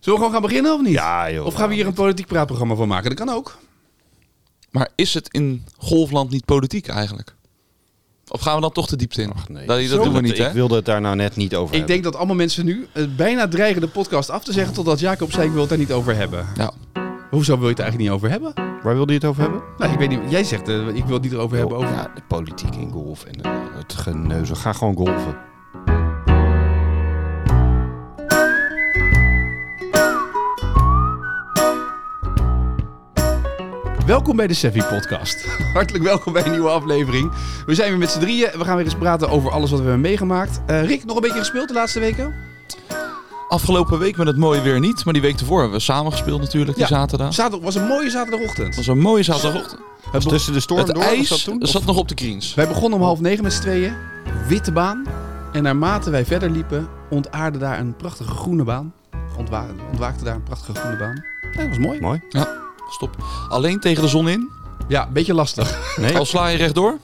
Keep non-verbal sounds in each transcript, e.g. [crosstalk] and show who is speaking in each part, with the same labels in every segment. Speaker 1: Zullen we gewoon gaan beginnen of niet?
Speaker 2: Ja, joh.
Speaker 1: Of gaan we hier een politiek praatprogramma van maken? Dat kan ook.
Speaker 3: Maar is het in golfland niet politiek eigenlijk? Of gaan we dan toch de diepte in?
Speaker 2: nee.
Speaker 3: Dat, dat
Speaker 1: Zo,
Speaker 3: doen we
Speaker 1: dat-
Speaker 3: niet, hè?
Speaker 2: Ik wilde het daar nou net niet over
Speaker 1: Ik
Speaker 2: hebben.
Speaker 1: denk dat allemaal mensen nu eh, bijna dreigen de podcast af te zeggen totdat Jacob zei ik wil het daar niet over hebben.
Speaker 3: Ja.
Speaker 1: Hoezo wil je het eigenlijk niet over hebben?
Speaker 2: Waar wilde je het over hebben?
Speaker 1: Nou, ik weet niet. Jij zegt eh, ik wil het niet erover hebben over.
Speaker 2: Oh, Ja, de politiek in golf en eh, het geneuzel. Ga gewoon golven.
Speaker 1: Welkom bij de Sevi Podcast. [laughs] Hartelijk welkom bij een nieuwe aflevering. We zijn weer met z'n drieën. We gaan weer eens praten over alles wat we hebben meegemaakt. Eh, Rick, nog een beetje gespeeld de laatste weken?
Speaker 3: Afgelopen week met het mooie weer niet, maar die week ervoor hebben we samen gespeeld natuurlijk, die
Speaker 1: Ja.
Speaker 3: zaterdag.
Speaker 1: Zaterdag was een mooie zaterdagochtend.
Speaker 3: Het was een mooie zaterdagochtend.
Speaker 1: Het
Speaker 2: Was
Speaker 1: be-
Speaker 2: tussen de storm
Speaker 3: Het
Speaker 2: door?
Speaker 3: ijs
Speaker 2: was dat toen?
Speaker 3: zat nog op de greens.
Speaker 1: Wij begonnen om half negen met z'n tweeën. Witte baan. En naarmate wij verder liepen, ontaarde daar een prachtige groene baan. Ontwa ontwaakte daar een prachtige groene baan. Ja, dat was mooi.
Speaker 2: Mooi.
Speaker 3: Stop. Alleen tegen de zon in.
Speaker 1: Ja, een beetje lastig.
Speaker 2: Nee,
Speaker 3: Al sla je rechtdoor,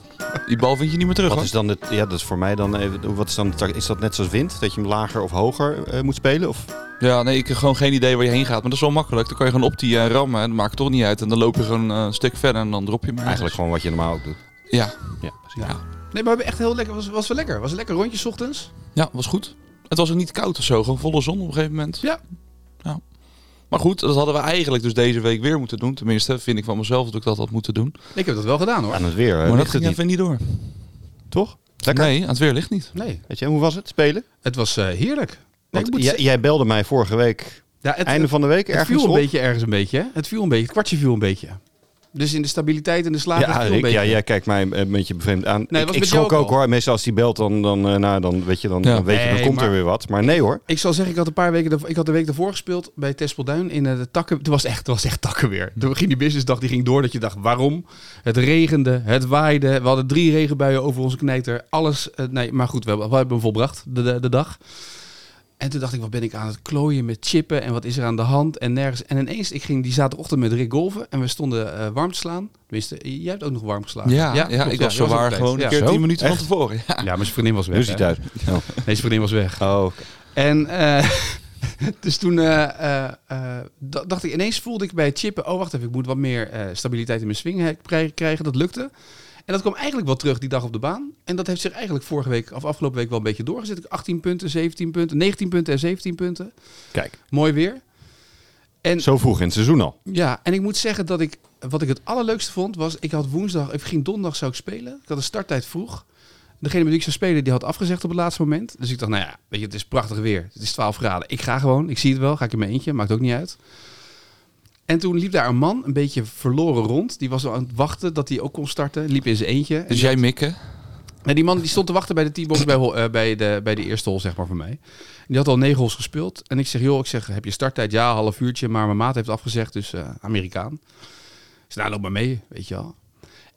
Speaker 3: die bal vind je niet meer terug.
Speaker 2: wat
Speaker 3: hoor.
Speaker 2: is dan het? Ja, dat is voor mij dan even. Wat is dan? de tak- Is dat net zoals wind? Dat je hem lager of hoger eh, moet spelen? Of
Speaker 3: Ja, nee, ik heb gewoon geen idee waar je heen gaat. Maar dat is wel makkelijk. Dan kan je gewoon op die eh, rammen en dat maakt toch niet uit. En dan loop je gewoon eh, een stuk verder en dan drop je hem. ergens.
Speaker 2: eigenlijk gewoon wat je normaal ook doet?
Speaker 3: Ja,
Speaker 2: [laughs] Ja,
Speaker 1: Nee, maar we hebben echt heel lekker. Was, was wel lekker. Was een lekker rondje 's ochtends.
Speaker 3: ja, was goed. Het was ook niet koud of zo, gewoon volle zon op een gegeven moment.
Speaker 1: Ja.
Speaker 3: ja. Maar goed, dat hadden we eigenlijk dus deze week weer moeten doen. Tenminste, vind ik van mezelf dat ik dat had moeten doen.
Speaker 1: Ik heb dat wel gedaan hoor.
Speaker 2: Aan het weer. eh,
Speaker 3: maar dat
Speaker 2: ligt
Speaker 3: ging
Speaker 2: het niet,
Speaker 3: even niet door.
Speaker 2: toch? Lekker.
Speaker 3: Nee, aan het weer ligt niet.
Speaker 1: Nee,
Speaker 2: Weet je, hoe was het spelen?
Speaker 1: het was eh, heerlijk. Nee,
Speaker 2: Want
Speaker 1: ik moet
Speaker 2: jij,
Speaker 1: zeggen-
Speaker 2: jij belde mij vorige week,
Speaker 1: ja, het,
Speaker 2: einde
Speaker 1: het-
Speaker 2: van de week,
Speaker 1: het
Speaker 2: ergens
Speaker 1: viel een
Speaker 2: op.
Speaker 1: beetje ergens een beetje. hè. Het viel een beetje. Het kwartje viel een beetje. Dus in de stabiliteit en de slagen het
Speaker 2: Ja,
Speaker 1: viel een
Speaker 2: Rick,
Speaker 1: beetje.
Speaker 2: ja, jij kijkt mij een beetje bevreemd aan.
Speaker 1: was
Speaker 2: ik
Speaker 1: met
Speaker 2: ik
Speaker 1: jou
Speaker 2: schrok
Speaker 1: ook
Speaker 2: ook
Speaker 1: al.
Speaker 2: hoor. Meestal als die belt, dan, dan, eh, nou, dan weet je, dan,
Speaker 3: Ja.
Speaker 2: dan, weet je, dan
Speaker 1: Nee,
Speaker 2: komt
Speaker 1: maar-
Speaker 2: er weer wat. Maar nee hoor.
Speaker 1: Ik zal zeggen, ik had een paar weken, daarvoor- ik had de week daarvoor gespeeld bij Tespelduin in eh, de takken. Toen was het echt, toen was het echt takken weer. Toen ging die businessdag, die ging door dat je dacht, waarom? Het regende, het waaide, we hadden drie regenbuien over onze knijter. Alles, eh, nee, maar goed, we hebben, we hebben hem volbracht, de, de, de dag. En toen dacht ik, wat ben ik aan het klooien met chippen en wat is er aan de hand en nergens. En ineens, ik ging die zaterdagochtend met Rick golven en we stonden eh, warm te slaan. Tenminste, jij hebt ook nog warm geslagen.
Speaker 3: Ja, ja,
Speaker 1: klopt,
Speaker 3: ik was
Speaker 1: je
Speaker 3: zo
Speaker 1: ook
Speaker 3: waar
Speaker 1: op tijd.
Speaker 3: gewoon een
Speaker 1: Ja.
Speaker 3: keer
Speaker 2: Zo?
Speaker 3: tien minuten
Speaker 2: Echt?
Speaker 3: van tevoren. Ja.
Speaker 1: Ja, maar zijn vriendin was weg.
Speaker 2: Nu is hij
Speaker 1: hè?
Speaker 2: thuis. Oh.
Speaker 1: Nee, zijn vriendin was weg.
Speaker 2: [laughs] Oh, oké.
Speaker 1: En eh, [laughs] dus toen eh, eh, eh, da- dacht ik, ineens voelde ik bij het chippen, oh wacht even, ik moet wat meer eh, stabiliteit in mijn swing he- krij- krijgen. Dat lukte. En dat kwam eigenlijk wel terug die dag op de baan. En dat heeft zich eigenlijk vorige week, of afgelopen week, wel een beetje doorgezet. Ik 18 punten, 17 punten, 19 punten en 17 punten.
Speaker 2: Kijk,
Speaker 1: Mooi weer. En
Speaker 2: zo vroeg in het seizoen al.
Speaker 1: ja, en ik moet zeggen dat ik wat ik het allerleukste vond was, ik had woensdag, ik ging donderdag zou ik spelen. Ik had een starttijd vroeg. Degene met wie ik zou spelen, die had afgezegd op het laatste moment. Dus ik dacht, nou ja, weet je, het is prachtig weer. Het is 12 graden. Ik ga gewoon, ik zie het wel, ga ik in mijn eentje, maakt ook niet uit. En toen liep daar een man, een beetje verloren rond. Die was al aan het wachten dat hij ook kon starten. Liep in zijn eentje. En
Speaker 3: Dus jij mikken.
Speaker 1: Nee, die man die stond te wachten bij de T-box bij, hol- eh, bij, de, bij de eerste hol, zeg maar, voor mij. En Die had al negen hols gespeeld. En ik zeg, joh, ik zeg, heb je starttijd? Ja, half uurtje. Maar mijn maat heeft afgezegd, dus eh, Amerikaan. Ik zeg, nou, loop maar mee, weet je wel.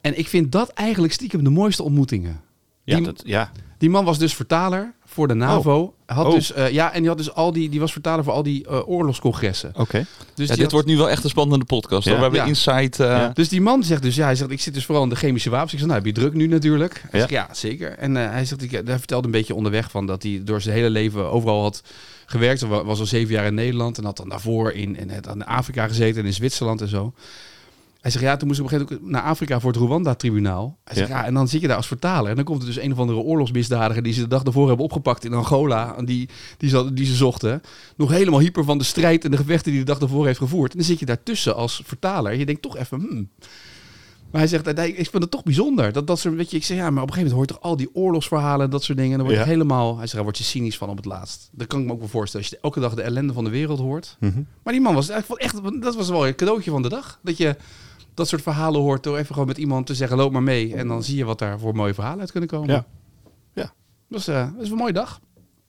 Speaker 1: En ik vind dat eigenlijk stiekem de mooiste ontmoetingen.
Speaker 2: Ja,
Speaker 1: Die-
Speaker 2: dat, ja.
Speaker 1: Die man was dus vertaler voor de NAVO. Had
Speaker 2: Oh.
Speaker 1: Dus, eh, ja, en die, had dus al die, die was vertaler voor al die eh, oorlogscongressen.
Speaker 2: oké.
Speaker 1: Dus
Speaker 3: Ja,
Speaker 1: die
Speaker 3: dit
Speaker 1: had-
Speaker 3: wordt nu wel echt een spannende podcast. hoor.
Speaker 2: Ja.
Speaker 3: We hebben
Speaker 1: Ja.
Speaker 3: insight. eh,
Speaker 2: Ja.
Speaker 1: Dus die man zegt dus, ja, hij zegt, ik zit dus vooral in de chemische wapens. Ik zeg, nou, heb je druk nu natuurlijk? Hij
Speaker 2: Ja.
Speaker 1: zegt, ja, zeker. En eh, hij zegt, ik, hij vertelde een beetje onderweg van dat hij door zijn hele leven overal had gewerkt. Hij wa- was al zeven jaar in Nederland en had dan daarvoor in, in, in Afrika gezeten en in Zwitserland en zo. Hij zegt, ja, toen moest ik op een gegeven moment ook naar Afrika voor het Rwanda-tribunaal. Hij zegt,
Speaker 2: Ja.
Speaker 1: ja. en dan zit je daar als vertaler. En dan komt er dus een of andere oorlogsmisdadiger die ze de dag daarvoor hebben opgepakt in Angola. en Die, die, ze, die ze zochten. Nog helemaal hyper van de strijd en de gevechten die de dag daarvoor heeft gevoerd. En dan zit je daartussen als vertaler. Je denkt toch even, hmm. Maar hij zegt, nee, ik vind het toch bijzonder. Dat, dat soort, weet je, ik zeg, ja, maar op een gegeven moment hoort toch al die oorlogsverhalen en dat soort dingen. En dan word je
Speaker 2: Ja.
Speaker 1: helemaal, hij zegt, daar word je cynisch van op het laatst. Dat kan ik me ook wel voorstellen. Als je elke dag de ellende van de wereld hoort.
Speaker 2: Mhm.
Speaker 1: Maar die man was, ik vond echt, dat was wel een cadeautje van de dag. Dat je dat soort verhalen hoort door even gewoon met iemand te zeggen, loop maar mee. En dan zie je wat daar voor mooie verhalen uit kunnen komen.
Speaker 2: Ja. Ja.
Speaker 1: Dat is, eh, dat is een mooie dag.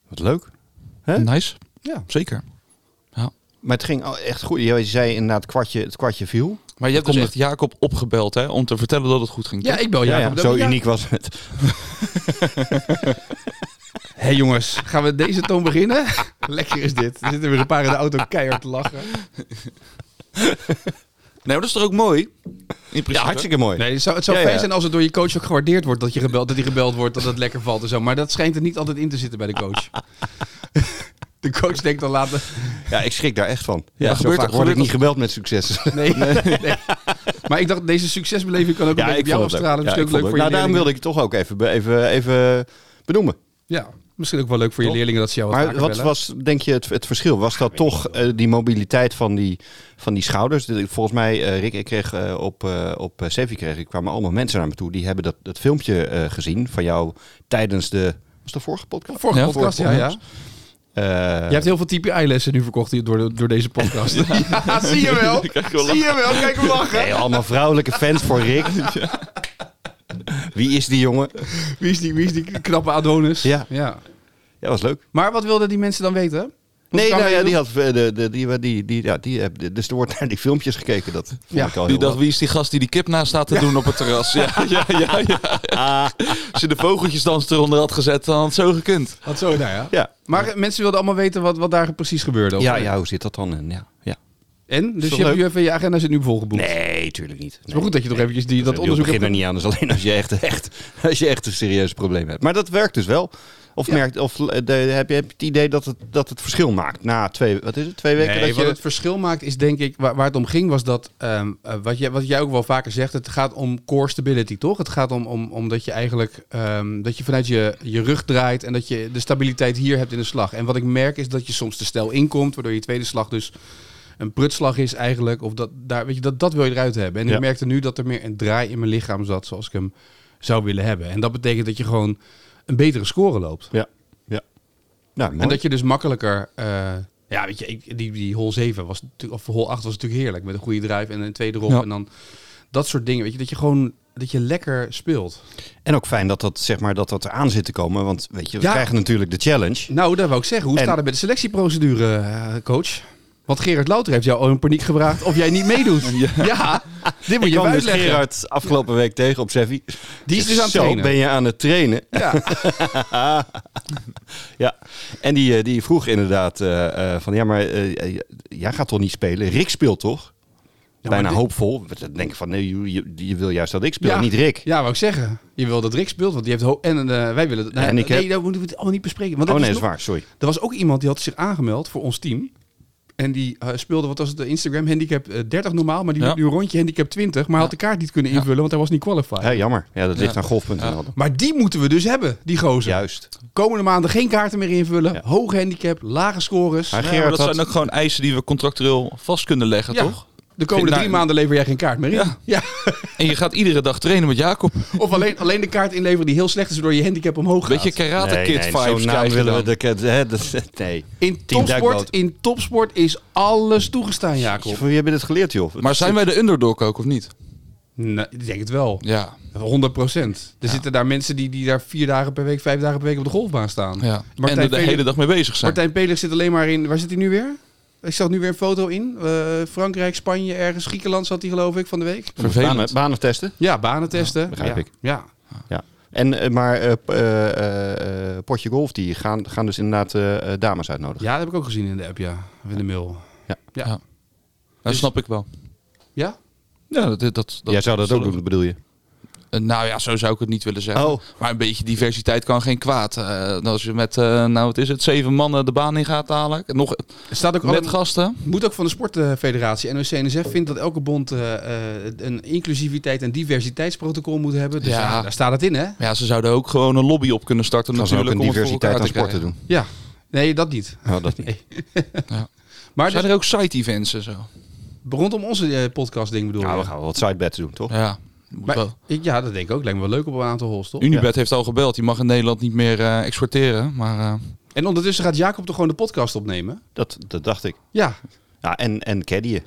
Speaker 2: Wat leuk. Hè?
Speaker 3: Nice,
Speaker 1: Ja.
Speaker 3: zeker.
Speaker 2: Maar het ging al echt goed. Je zei inderdaad, het kwartje, het kwartje viel.
Speaker 3: Maar je hebt
Speaker 2: Komt
Speaker 3: dus echt Jacob opgebeld hè, om te vertellen dat het goed ging.
Speaker 1: Ja,
Speaker 3: toch?
Speaker 1: ik bel
Speaker 2: ja,
Speaker 1: jou.
Speaker 2: ja, zo uniek was het.
Speaker 1: Hé hey jongens, gaan we deze toon beginnen? [laughs] Lekker is dit. Er zitten weer een paar in de auto keihard te lachen.
Speaker 3: Nee, maar dat is toch ook mooi? In principe.
Speaker 2: Ja, hartstikke mooi.
Speaker 1: Nee, het zou, het zou
Speaker 2: Ja,
Speaker 1: fijn
Speaker 2: ja.
Speaker 1: zijn als het door je coach ook gewaardeerd wordt dat, je gebeld, dat hij gebeld wordt, dat het lekker valt en zo. Maar dat schijnt er niet altijd in te zitten bij de coach. [laughs] De coach denkt dan later...
Speaker 2: Ja, ik schrik daar echt van. Ja,
Speaker 3: Ja,
Speaker 2: zo
Speaker 3: gebeurt
Speaker 2: vaak
Speaker 3: dat-
Speaker 2: word ik
Speaker 3: gebeurt
Speaker 2: niet gebeld met succes.
Speaker 1: Nee. [laughs] nee. Maar ik dacht, deze succesbeleving kan ook een beetje op jou
Speaker 2: vond het leuk.
Speaker 1: afstralen.
Speaker 2: Ja,
Speaker 1: Misschien
Speaker 2: ik
Speaker 1: ook leuk
Speaker 2: vond
Speaker 1: voor je
Speaker 2: het Nou, daarom
Speaker 1: leerlingen.
Speaker 2: wilde ik het toch ook even, be- even, even benoemen.
Speaker 1: Ja, misschien ook wel leuk voor je
Speaker 2: Toch?
Speaker 1: leerlingen dat ze jou wat
Speaker 2: Maar
Speaker 1: vaker
Speaker 2: wat
Speaker 1: bellen.
Speaker 2: was, denk je, het, het verschil? Was dat toch eh, die mobiliteit van die, van die schouders? De- Volgens mij, eh, Rick, ik kreeg eh, op, eh op eh, Sevi kreeg, ik kwamen allemaal mensen naar me toe. Die hebben dat, dat filmpje eh, gezien van jou tijdens de... Was de vorige podcast?
Speaker 1: Vorige
Speaker 3: Ja,
Speaker 1: podcast,
Speaker 2: vorige
Speaker 1: ja, ja.
Speaker 2: podcast. Eh,
Speaker 1: Je hebt heel veel TPI-lessen nu verkocht hier door, de- door deze podcast. [laughs] ja, zie je wel.
Speaker 3: Krijg je wel
Speaker 1: Zie je wel. Kijk hem lachen.
Speaker 2: nee, allemaal vrouwelijke fans voor
Speaker 1: [laughs]
Speaker 2: Rick. Wie is die jongen?
Speaker 1: Wie is die, wie is die knappe Adonis?
Speaker 2: Ja.
Speaker 1: ja.
Speaker 2: Ja, was leuk.
Speaker 1: Maar wat wilden die mensen dan weten? Want
Speaker 2: Nee,
Speaker 1: kan
Speaker 2: nou ja,
Speaker 1: je-
Speaker 2: die had eh, de, de, die, die, die, ja, die, heb- dus er wordt naar die filmpjes gekeken. Dat vond
Speaker 1: Ja,
Speaker 2: ik al
Speaker 3: Die
Speaker 2: heel
Speaker 3: dacht, wie is die gast die die kip naast staat te doen op het
Speaker 2: [laughs]
Speaker 3: terras? Ja, ja, ja, ja.
Speaker 2: Ah.
Speaker 3: Als je de vogeltjesdans eronder had gezet, dan had het zo gekund.
Speaker 1: Had zo, nou ja.
Speaker 2: Ja.
Speaker 1: Maar eh, mensen wilden allemaal weten wat, wat daar precies gebeurde. of-
Speaker 2: Ja, ja, hoe zit dat dan? En Ja, ja.
Speaker 1: En? Dus
Speaker 2: toch
Speaker 1: je, hebt,
Speaker 2: leuk?
Speaker 1: je, hebt- je agenda zit nu volgeboekt.
Speaker 2: Nee, tuurlijk niet.
Speaker 1: Het is maar goed dat je toch eventjes die, dat onderzoek
Speaker 2: begint er
Speaker 1: hebt-
Speaker 2: niet aan. Dat is alleen als je echt, echt, als je echt een serieus probleem hebt. Maar dat werkt dus wel. Of, merkt, of eh, de, heb je heb je het idee dat het, dat het verschil maakt na twee, wat is het, twee weken?
Speaker 1: Nee,
Speaker 2: dat
Speaker 1: wat
Speaker 2: je,
Speaker 1: het verschil maakt is denk ik, waar, waar het om ging, was dat, ehm, eh, wat, jij, wat jij ook wel vaker zegt, het gaat om core stability, toch? Het gaat om, om, om dat je eigenlijk, ehm, dat je vanuit je, je rug draait en dat je de stabiliteit hier hebt in de slag. En wat ik merk is dat je soms te snel inkomt, waardoor je tweede slag dus een prutslag is eigenlijk. Of dat, daar, weet je, dat, dat wil je eruit hebben. En
Speaker 2: Ja.
Speaker 1: ik merkte nu dat er meer een draai in mijn lichaam zat, zoals ik hem zou willen hebben. En dat betekent dat je gewoon een betere score loopt.
Speaker 2: Ja, ja. Nou, mooi.
Speaker 1: En dat je dus makkelijker. eh, ja, weet je, ik, die, die hol 7 was natuurlijk, of hol 8 was natuurlijk heerlijk. Met een goede drive en een tweede rol.
Speaker 3: Ja.
Speaker 1: En dan dat soort dingen. Weet je, dat je gewoon dat je lekker speelt.
Speaker 2: En ook fijn dat dat, zeg maar, dat dat eraan zit te komen. Want weet je, we
Speaker 1: Ja.
Speaker 2: krijgen natuurlijk de challenge.
Speaker 1: Nou, daar wou ik zeggen. Hoe
Speaker 2: En-
Speaker 1: staat het met de selectieprocedure, eh, coach? Want Gerard Louter heeft jou al in paniek gevraagd of jij niet
Speaker 2: [laughs]
Speaker 1: meedoet. ja. dit moet
Speaker 2: Ik
Speaker 1: je hem
Speaker 2: kwam dus
Speaker 1: uitleggen.
Speaker 2: Gerard afgelopen week tegen op Seffi.
Speaker 1: Die is dus aan het
Speaker 2: Zo
Speaker 1: trainen.
Speaker 2: ben je aan het trainen.
Speaker 1: Ja.
Speaker 2: Ja, en die, eh, die vroeg inderdaad eh, eh, van ja, maar eh, eh, jij gaat toch niet spelen? Rick speelt toch? Bijna
Speaker 1: dit-
Speaker 2: hoopvol. Dan denk ik van nee, je, je, je wil juist dat ik speel,
Speaker 1: Ja.
Speaker 2: niet Rick.
Speaker 1: ja, wou ik zeggen. Je wil dat Rick speelt, want die heeft... ho- en eh, wij willen...
Speaker 2: En ik
Speaker 1: nee,
Speaker 2: heb-
Speaker 1: dat moeten we het allemaal niet bespreken. Want
Speaker 2: oh
Speaker 1: dat
Speaker 2: nee,
Speaker 1: is
Speaker 2: dat
Speaker 1: nog-
Speaker 2: is waar, sorry.
Speaker 1: Er was ook iemand die had zich aangemeld voor ons team. En die eh, speelde, wat was het, de Instagram handicap eh, 30 normaal. Maar die
Speaker 3: Ja.
Speaker 1: liep nu een rondje handicap 20. Maar had de kaart niet kunnen invullen, want hij was niet qualified.
Speaker 2: Hé, jammer. Ja, dat ligt
Speaker 3: Ja.
Speaker 2: aan golf.nl.
Speaker 3: Ja.
Speaker 1: Maar die moeten we dus hebben, die gozer.
Speaker 2: Juist.
Speaker 1: Komende maanden geen kaarten meer invullen.
Speaker 2: Ja.
Speaker 1: Hoog handicap, lage scores.
Speaker 2: Maar
Speaker 3: Ja, maar
Speaker 2: Gerard
Speaker 3: dat
Speaker 2: had-
Speaker 3: zijn ook gewoon eisen die we contractueel vast kunnen leggen,
Speaker 1: Ja.
Speaker 3: toch?
Speaker 1: De komende
Speaker 2: Nou,
Speaker 3: Geen-
Speaker 1: drie maanden lever jij geen kaart meer in. Ja.
Speaker 3: Ja. En je gaat iedere dag trainen met Jacob.
Speaker 1: Of alleen, alleen de kaart inleveren die heel slecht is, waardoor je handicap omhoog gaat.
Speaker 3: Weet je, karate
Speaker 2: Nee,
Speaker 3: kid
Speaker 2: nee,
Speaker 3: vibes
Speaker 2: zo'n naam
Speaker 3: krijg je
Speaker 2: willen we.
Speaker 3: dan.
Speaker 2: De, ket- hè, dat, nee.
Speaker 1: in,
Speaker 2: Team
Speaker 1: topsport,
Speaker 2: duikboot.
Speaker 1: in topsport is alles toegestaan, Jacob.
Speaker 2: Van wie heb je dit geleerd, joh?
Speaker 3: Maar zijn wij de underdog ook, of niet?
Speaker 1: Nou, ik denk het wel.
Speaker 3: Ja.
Speaker 1: 100 procent. Er zitten daar mensen die, die daar vier dagen per week, vijf dagen per week op de golfbaan staan.
Speaker 3: ja. En
Speaker 1: Martijn
Speaker 3: er de
Speaker 1: Pelig-
Speaker 3: hele dag mee bezig zijn.
Speaker 1: Martijn Pelig zit alleen maar in... Waar zit hij nu weer? Ik zag nu weer een foto in. Eh, Frankrijk, Spanje, ergens. Griekenland zat hij geloof ik van de week.
Speaker 2: Banen,
Speaker 3: Vervelend.
Speaker 2: banen testen?
Speaker 1: Ja, banen testen. Ja,
Speaker 2: begrijp
Speaker 1: ja.
Speaker 2: ik. Ja. En, eh, maar eh, p- eh, eh, eh, Potje Golf, die gaan, gaan dus inderdaad eh, eh, dames uitnodigen.
Speaker 1: Ja, dat heb ik ook gezien in de app, ja. Of in de mail.
Speaker 3: Dat snap ik wel.
Speaker 1: Ja?
Speaker 3: Ja, dat, dat, dat,
Speaker 2: Jij zou dat ook
Speaker 3: zullen-
Speaker 2: doen, bedoel je?
Speaker 3: Eh, Nou ja, zo zou ik het niet willen zeggen.
Speaker 2: Oh.
Speaker 3: Maar een beetje diversiteit kan geen kwaad. Eh, als je met, eh, nou wat is het, zeven mannen de baan in gaat dadelijk. Nog
Speaker 1: Er staat ook
Speaker 3: met
Speaker 1: alle,
Speaker 3: gasten.
Speaker 1: moet ook van de sportfederatie. NOC-NSF vindt dat elke bond eh, eh, een inclusiviteit- en diversiteitsprotocol moet hebben. Dus
Speaker 3: Ja.
Speaker 1: ja, daar staat het in, hè?
Speaker 3: Ja, ze zouden ook gewoon een lobby op kunnen starten
Speaker 2: Gaan ze ook
Speaker 3: natuurlijk.
Speaker 2: een
Speaker 3: om het voor
Speaker 2: diversiteit aan
Speaker 3: elkaar te
Speaker 2: sporten doen?
Speaker 1: Ja. Nee, dat niet.
Speaker 2: Nou, dat [laughs] niet.
Speaker 1: Maar
Speaker 3: Zijn
Speaker 1: dus,
Speaker 3: er ook side-events en zo?
Speaker 1: rondom onze podcast ding bedoel
Speaker 2: Nou,
Speaker 1: je?
Speaker 2: we gaan wel wat sidebets doen, toch?
Speaker 3: Ja, moet
Speaker 1: Maar,
Speaker 3: wel. Mm.
Speaker 1: ik, ja, dat denk ik ook. Lijkt me wel leuk op een aantal hols, toch?
Speaker 3: Unibet heeft al gebeld. Die mag in Nederland niet meer eh, exporteren. Maar eh,
Speaker 1: En ondertussen gaat Jacob toch gewoon de podcast opnemen?
Speaker 2: Dat, dat dacht ik.
Speaker 1: Ja.
Speaker 2: Ja, en, en caddyen.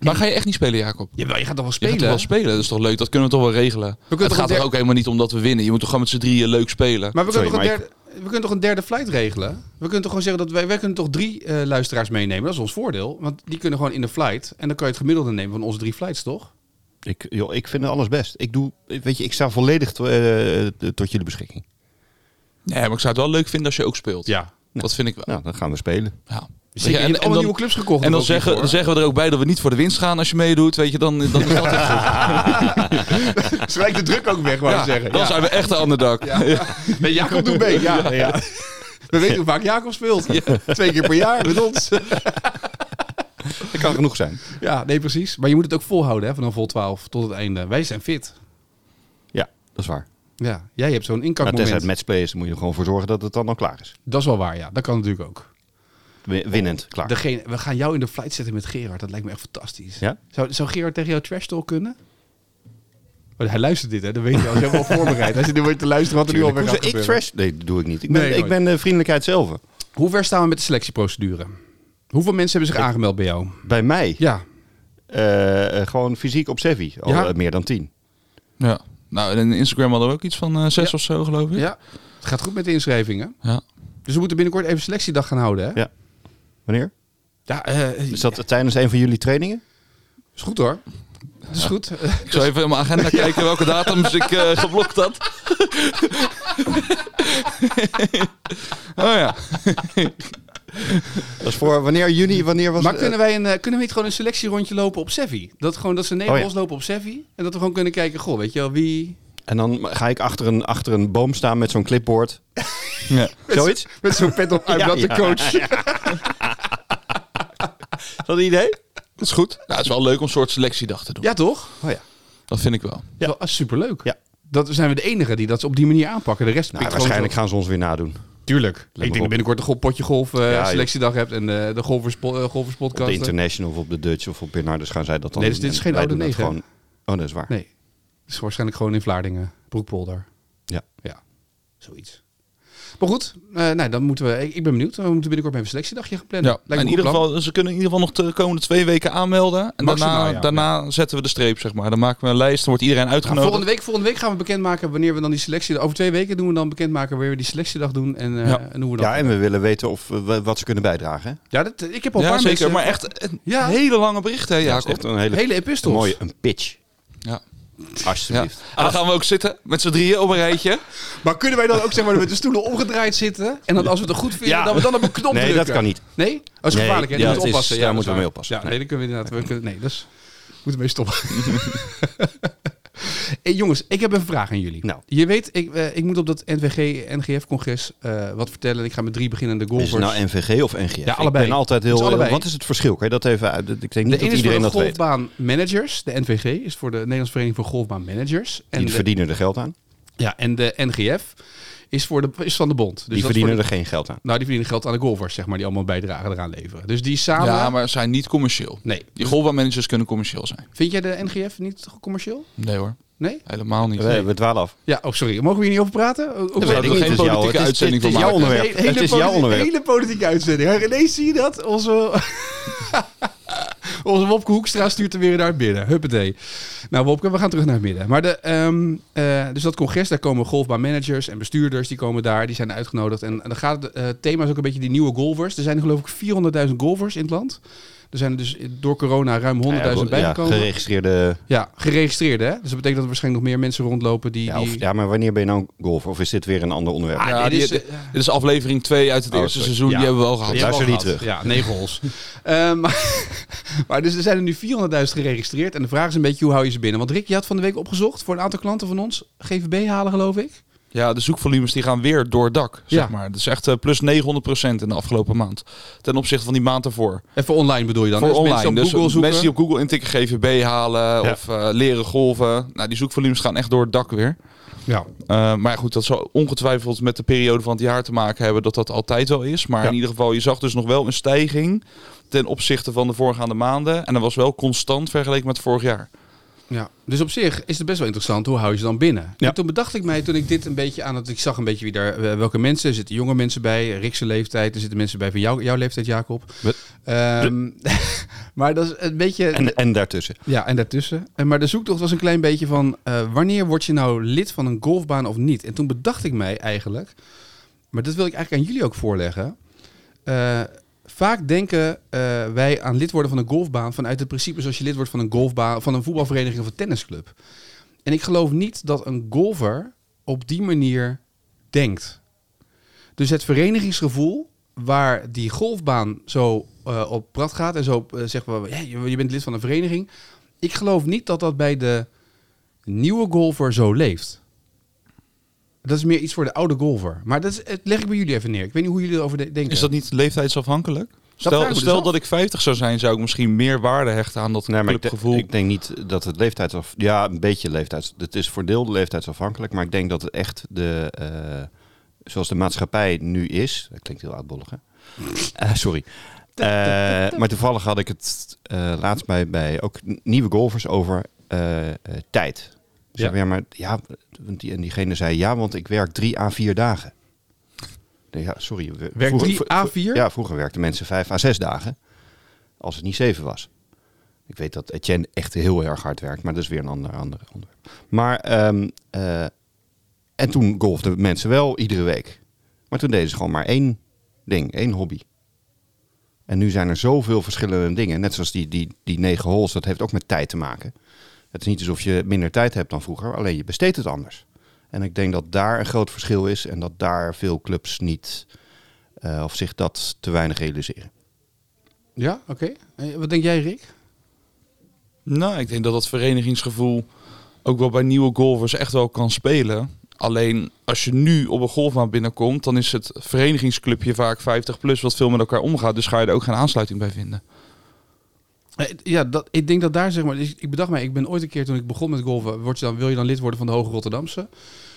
Speaker 3: Maar ga je echt niet spelen, Jacob?
Speaker 1: Jawel, je gaat toch wel
Speaker 3: Je gaat toch
Speaker 1: spelen?
Speaker 3: wel spelen? Dat is toch leuk? Dat kunnen we toch wel regelen?
Speaker 1: kunnen
Speaker 3: het
Speaker 1: toch
Speaker 3: gaat
Speaker 1: een
Speaker 3: toch
Speaker 1: der-
Speaker 3: ook helemaal niet om dat we winnen? Je moet toch gewoon met z'n drieën leuk spelen?
Speaker 1: Maar we
Speaker 2: Sorry,
Speaker 1: kunnen, toch een
Speaker 2: maar
Speaker 1: derde, we kunnen toch een derde flight regelen? We kunnen toch gewoon zeggen dat wij, wij kunnen toch drie eh, luisteraars meenemen? Dat is ons voordeel. Want die kunnen gewoon in de flight. En dan kan je het gemiddelde nemen van onze drie flights, toch?
Speaker 2: Ik, joh, ik vind alles best. Ik, doe, weet je, ik sta volledig to- eh, eh, tot jullie beschikking.
Speaker 3: Nee, maar ik zou het wel leuk vinden als je ook speelt.
Speaker 1: Ja.
Speaker 3: Dat vind ik wel.
Speaker 2: Nou, dan gaan we spelen.
Speaker 3: Ja.
Speaker 1: Zeker, je
Speaker 3: en,
Speaker 1: hebt
Speaker 3: en
Speaker 1: allemaal
Speaker 3: dan,
Speaker 1: nieuwe clubs gekocht.
Speaker 3: en dan
Speaker 1: ook niet,
Speaker 3: zeggen,
Speaker 1: hoor.
Speaker 3: dan zeggen we er ook bij dat we niet voor de winst gaan als je meedoet. Weet je, dan,
Speaker 1: [laughs]
Speaker 3: dan is dat echt goed.
Speaker 1: Ze lijkt de druk ook weg, wou ik
Speaker 3: Ja,
Speaker 1: zeggen.
Speaker 3: Dan
Speaker 1: Ja.
Speaker 3: zijn we echt de underdog. Ja.
Speaker 2: [laughs]
Speaker 1: Nee, Jacob, doe mee. Ja. Ja. We weten hoe vaak Jacob speelt. Twee keer per jaar met ons.
Speaker 2: Dat kan genoeg zijn.
Speaker 1: Ja, nee, precies. Maar je moet het ook volhouden hè, vanaf vol 12 tot het einde. Wij zijn fit.
Speaker 2: Ja, dat is waar.
Speaker 1: Ja, jij hebt zo'n
Speaker 2: Maar tenzij
Speaker 1: inkakmoment.
Speaker 2: het matchplay is, dan moet je er gewoon voor zorgen dat het dan al klaar is.
Speaker 1: Dat is wel waar, ja. Dat kan natuurlijk ook.
Speaker 2: Win- Winnend, klaar.
Speaker 1: Degene, we gaan jou in de flight zetten met Gerard. Dat lijkt me echt fantastisch.
Speaker 2: Ja?
Speaker 1: Zou, zou Gerard tegen jou trash talk kunnen? Maar hij luistert dit, hè? Dan weet je al. Hij is helemaal voorbereid. Hij zit nu weer te luisteren wat er nu alweer
Speaker 2: Hoezo
Speaker 1: gaat
Speaker 2: ik
Speaker 1: gebeuren.
Speaker 2: trash? Nee, dat doe ik niet. Ik ben,
Speaker 1: Nee, nooit.
Speaker 2: ik ben eh, vriendelijkheid zelf.
Speaker 1: Hoe ver staan we met de selectieprocedure? Hoeveel mensen hebben zich aangemeld bij jou?
Speaker 2: Bij mij,
Speaker 1: Ja.
Speaker 2: eh, eh, gewoon fysiek op Sevi, al
Speaker 1: Ja?
Speaker 2: eh, meer dan tien.
Speaker 3: Ja. Nou, en in Instagram hadden we ook iets van eh, zes
Speaker 1: Ja.
Speaker 3: of zo, geloof ik.
Speaker 1: ja. Het gaat goed met de inschrijvingen.
Speaker 3: Ja.
Speaker 1: Dus we moeten binnenkort even selectiedag gaan houden, hè?
Speaker 2: Ja. Wanneer?
Speaker 1: Ja, eh,
Speaker 2: Is dat tijdens een van jullie trainingen?
Speaker 1: is goed hoor. Het is
Speaker 2: [laughs]
Speaker 1: goed.
Speaker 3: Ik zou even in mijn agenda kijken welke datums ik eh,
Speaker 1: [laughs]
Speaker 3: geblokt had. oh ja.
Speaker 2: Dat is voor wanneer juni, wanneer was
Speaker 1: Maar
Speaker 2: het?
Speaker 1: kunnen, wij een, eh, kunnen we niet gewoon een selectierondje lopen op Sevi? Dat, gewoon, dat ze negen
Speaker 2: Oh ja.
Speaker 1: loslopen op Sevi. En dat we gewoon kunnen kijken, goh, weet je wel, wie...
Speaker 2: En dan ga ik achter een, achter een boom staan met zo'n clipboard.
Speaker 3: ja.
Speaker 2: Zoiets?
Speaker 1: Met zo'n pet
Speaker 2: [laughs]
Speaker 1: op, I'm
Speaker 2: Ja,
Speaker 1: not the
Speaker 2: ja.
Speaker 1: coach.
Speaker 2: Is dat een idee?
Speaker 3: Dat is goed. Nou, het is wel leuk om een soort selectiedag te doen.
Speaker 1: Ja, toch?
Speaker 2: Oh ja.
Speaker 3: Dat vind ik wel.
Speaker 1: Ja. Wel, ah, superleuk.
Speaker 2: Ja.
Speaker 1: Dat zijn we de enigen die dat op die manier aanpakken. De rest
Speaker 2: Nou,
Speaker 1: pikt
Speaker 2: waarschijnlijk
Speaker 1: gewoon
Speaker 2: gaan ze ons weer nadoen.
Speaker 1: zo- Tuurlijk. ik
Speaker 2: me
Speaker 1: denk dat
Speaker 2: op.
Speaker 1: je binnenkort een go- potje golf eh,
Speaker 2: Ja, joh.
Speaker 1: selectiedag hebt en eh, de golferspo- eh,
Speaker 2: Op
Speaker 1: golferspodcast.
Speaker 2: de International of op de Dutch of op Bernardus gaan zij dat dan
Speaker 1: Nee, dus dit is
Speaker 2: en
Speaker 1: geen
Speaker 2: wij
Speaker 1: oude
Speaker 2: doen dat
Speaker 1: negen,
Speaker 2: Gewoon... Oh, dat is waar.
Speaker 1: nee, het is waarschijnlijk gewoon in Vlaardingen. Broekpolder.
Speaker 2: Ja.
Speaker 1: Ja, zoiets. Maar goed, eh, nou, dan moeten we, ik, ik ben benieuwd. We moeten binnenkort even een selectiedagje gaan plannen.
Speaker 3: Ja.
Speaker 1: Lijkt me
Speaker 3: in
Speaker 1: een
Speaker 3: ieder
Speaker 1: goed plan.
Speaker 3: geval, ze kunnen in ieder geval nog de komende twee weken aanmelden. En
Speaker 1: Maximaal,
Speaker 3: daarna,
Speaker 1: ja.
Speaker 3: daarna zetten we de streep, zeg maar. Dan maken we een lijst, dan wordt iedereen
Speaker 1: Ja,
Speaker 3: uitgenodigd.
Speaker 1: volgende, week, volgende week gaan we bekendmaken wanneer we dan die selectie... Over twee weken doen we dan bekendmaken wanneer we die selectiedag doen. En, eh,
Speaker 3: Ja.
Speaker 1: en hoe we dat...
Speaker 2: Ja, en we willen weten of, eh, we- wat ze kunnen bijdragen. hè?
Speaker 1: Ja, dat, ik heb al een
Speaker 3: ja,
Speaker 1: paar
Speaker 3: zeker.
Speaker 1: mensen...
Speaker 3: Maar echt een
Speaker 1: Ja.
Speaker 3: hele lange berichten, hè,
Speaker 2: Dat is
Speaker 3: Jacob.
Speaker 2: echt een hele,
Speaker 1: Hele epistels.
Speaker 2: mooie een pitch.
Speaker 3: Ja. Ja. En
Speaker 2: Alsjeblieft.
Speaker 3: dan gaan we ook zitten met z'n drieën op een rijtje.
Speaker 1: Maar kunnen wij dan ook zeg maar, met de stoelen omgedraaid zitten? En dan als we het goed vinden,
Speaker 2: Ja.
Speaker 1: dat we dan op een knop
Speaker 2: Nee,
Speaker 1: drukken?
Speaker 2: dat kan niet.
Speaker 1: Nee? Oh, Dat is
Speaker 2: Nee,
Speaker 1: gevaarlijk, hè?
Speaker 2: ja,
Speaker 1: Ja,
Speaker 2: het is-
Speaker 1: oppassen.
Speaker 2: daar
Speaker 1: dat
Speaker 2: moeten
Speaker 1: waar.
Speaker 2: we mee oppassen.
Speaker 1: Ja, nee, dan kunnen we inderdaad... We kunnen, nee, dat is... We moeten mee stoppen. [laughs] hey, jongens, ik heb een vraag aan jullie.
Speaker 2: Nou.
Speaker 1: Je weet, ik, eh, ik moet op dat NVG-NGF-congres eh, wat vertellen. Ik ga met drie beginnende golfers...
Speaker 2: Is het nou NVG of NGF?
Speaker 1: Ja, allebei.
Speaker 2: Ik ben altijd
Speaker 1: Het
Speaker 2: heel...
Speaker 1: is allebei.
Speaker 2: Wat is het verschil? Kan je dat even uit? Ik denk
Speaker 1: de
Speaker 2: niet dat
Speaker 1: ene is voor
Speaker 2: iedereen
Speaker 1: de
Speaker 2: dat weet. Die
Speaker 1: golfbaanmanagers. De NVG is voor de Nederlandse Vereniging voor Golfbaanmanagers. En de,
Speaker 2: verdienen er geld aan.
Speaker 1: ja, en de NGF is, voor de, is van de bond. Dus dat is
Speaker 2: die
Speaker 1: voor
Speaker 2: verdienen
Speaker 1: de-
Speaker 2: er geen geld aan.
Speaker 1: Nou, die verdienen geld aan de golfers, zeg maar, die allemaal bijdragen eraan leveren. Dus die samen.
Speaker 3: Ja, maar zijn niet commercieel.
Speaker 1: Nee.
Speaker 3: Die golfbouwmanagers kunnen commercieel zijn.
Speaker 1: Vind jij de NGF niet commercieel?
Speaker 3: Nee hoor,
Speaker 1: Nee?
Speaker 3: helemaal niet.
Speaker 2: We, we dwalen af.
Speaker 1: Ja, oh, sorry. Mogen we hier niet over praten? Oh, oh,
Speaker 3: weet
Speaker 1: sorry.
Speaker 3: ik niet. geen
Speaker 2: Het is jouw-
Speaker 3: politieke
Speaker 2: het is-
Speaker 3: uitzending
Speaker 2: het is
Speaker 3: van
Speaker 2: jouw
Speaker 3: maken.
Speaker 2: onderwerp.
Speaker 1: Hele
Speaker 2: Het is jouw
Speaker 1: politi-
Speaker 2: onderwerp.
Speaker 1: hele politieke uitzending. Ja, Ineens zie je dat. Onze, [laughs] onze Wopke Hoekstra stuurt er weer naar het midden. Huppatee. Nou Wopke, we gaan terug naar het midden. Maar de, ehm, eh, dus dat congres, daar komen golfbaanmanagers en bestuurders. Die komen daar, die zijn uitgenodigd. En, en dan gaat het eh, thema is ook een beetje die nieuwe golfers. Er zijn geloof ik 400.000 golfers in het land. Er zijn er dus door corona ruim 100.000
Speaker 2: ja,
Speaker 1: bijgekomen. Ja,
Speaker 2: geregistreerde...
Speaker 1: geregistreerd hè. Dus dat betekent dat er waarschijnlijk nog meer mensen rondlopen die...
Speaker 2: Ja,
Speaker 1: die...
Speaker 2: of, ja, maar wanneer ben je nou een golfer? Of is dit weer een ander onderwerp?
Speaker 1: Ah,
Speaker 3: Ja,
Speaker 1: dit
Speaker 3: die-
Speaker 1: is,
Speaker 3: dit,
Speaker 1: eh,
Speaker 3: dit is aflevering 2 uit het
Speaker 2: Oh,
Speaker 3: eerste
Speaker 2: sorry.
Speaker 3: seizoen.
Speaker 1: Ja.
Speaker 3: Die hebben we al gehad.
Speaker 1: Die hebben
Speaker 2: Luister
Speaker 1: we
Speaker 2: die
Speaker 1: al gehad. Ja, negen holes. [laughs] Ehm, maar, [laughs] maar dus er zijn er nu 400.000 geregistreerd. En de vraag is een beetje, hoe hou je ze binnen? Want Rick, je had van de week opgezocht voor een aantal klanten van ons. GVB halen, geloof ik.
Speaker 3: Ja, de zoekvolumes die gaan weer door het dak, zeg
Speaker 1: Ja.
Speaker 3: maar. Dat is echt eh, plus 900% in de afgelopen maand. Ten opzichte van die maand daarvoor.
Speaker 1: Even online bedoel je dan?
Speaker 3: voor
Speaker 1: hè? Dus mensen
Speaker 3: online.
Speaker 1: op
Speaker 3: dus
Speaker 1: Google zoeken.
Speaker 3: mensen die op Google intikken GVB halen
Speaker 2: Ja.
Speaker 3: of eh, leren golven. Nou, die zoekvolumes gaan echt door het dak weer.
Speaker 1: Ja.
Speaker 3: Eh, maar ja, goed, dat zal ongetwijfeld met de periode van het jaar te maken hebben dat dat altijd wel is. Maar
Speaker 2: Ja.
Speaker 3: in ieder geval, je zag dus nog wel een stijging ten opzichte van de voorgaande maanden. En dat was wel constant vergeleken met vorig jaar.
Speaker 1: Ja. Dus op zich is het best wel interessant, hoe hou je ze dan binnen?
Speaker 2: Ja.
Speaker 1: En toen bedacht ik mij, toen ik dit een beetje aan het... Ik zag een beetje wie daar, eh, welke mensen. Er zitten jonge mensen bij, Rickse leeftijd. Er zitten mensen bij van jou, jouw leeftijd, Jacob.
Speaker 2: Wat?
Speaker 1: Ehm, [laughs] maar dat is een beetje...
Speaker 2: En, en daartussen.
Speaker 1: Ja, en daartussen. En, maar de zoektocht was een klein beetje van... eh, wanneer word je nou lid van een golfbaan of niet? En toen bedacht ik mij eigenlijk... Maar dat wil ik eigenlijk aan jullie ook voorleggen. Eh, vaak denken eh, wij aan lid worden van een golfbaan... vanuit het principe zoals je lid wordt van een golfbaan... van een voetbalvereniging of een tennisclub. En ik geloof niet dat een golfer op die manier denkt. Dus het verenigingsgevoel waar die golfbaan zo eh, op prat gaat... en zo eh, zeggen we, "Hey, je je bent lid van een vereniging... Ik geloof niet dat dat bij de nieuwe golfer zo leeft. Dat is meer iets voor de oude golfer. Maar dat, is, het leg ik bij jullie even neer. Ik weet niet hoe jullie erover de- denken.
Speaker 3: Is dat niet leeftijdsafhankelijk? Stel,
Speaker 1: vraag ik
Speaker 3: dat,
Speaker 1: me
Speaker 3: stel
Speaker 1: dus af.
Speaker 3: dat ik 50 zou zijn, zou ik misschien meer waarde hechten aan dat
Speaker 2: Nee, maar ik, de-
Speaker 3: clubgevoel.
Speaker 2: ik denk niet dat het leeftijdsaf... Ja, een beetje leeftijds... Het is voor deel leeftijdsafhankelijk, maar ik denk dat het echt de... eh, zoals de maatschappij nu is... Dat klinkt heel uitbollig, hè? Eh, sorry. Eh, maar toevallig had ik het eh, laatst bij, bij ook n- nieuwe golfers over eh, eh, tijd.
Speaker 1: Ja.
Speaker 2: Zeg, ja, maar, ja, want die, en diegene zei ja, want ik werk drie à vier dagen. Nee, Ja, sorry. we-
Speaker 1: Werk
Speaker 2: vroeger-
Speaker 1: drie
Speaker 2: vro-
Speaker 1: à
Speaker 2: vro-
Speaker 1: vier?
Speaker 2: Ja, vroeger werkten mensen vijf à zes dagen. Als het niet zeven was. Ik weet dat Etienne echt heel erg hard werkt, maar dat is weer een ander, ander onderwerp. Maar, ehm, eh, en toen golfden mensen wel iedere week. Maar toen deden ze gewoon maar één ding, één hobby. En nu zijn er zoveel verschillende dingen. Net zoals die, die, die negen holes, dat heeft ook met tijd te maken. Het is niet alsof je minder tijd hebt dan vroeger, alleen je besteedt het anders. En ik denk dat daar een groot verschil is en dat daar veel clubs niet eh, of zich dat te weinig realiseren.
Speaker 1: Ja, oké. Eh, Wat denk jij, Rick?
Speaker 3: Nou, ik denk dat dat verenigingsgevoel ook wel bij nieuwe golfers echt wel kan spelen. Alleen als je nu op een golfbaan binnenkomt, dan is het verenigingsclubje vaak 50 plus wat veel met elkaar omgaat. Dus ga je er ook geen aansluiting bij vinden.
Speaker 1: Eh, Ja, dat, ik denk dat daar zeg maar. dus Ik bedacht mij, ik ben ooit een keer toen ik begon met golven. Word je dan, wil je dan lid worden van de Hoge Rotterdamse?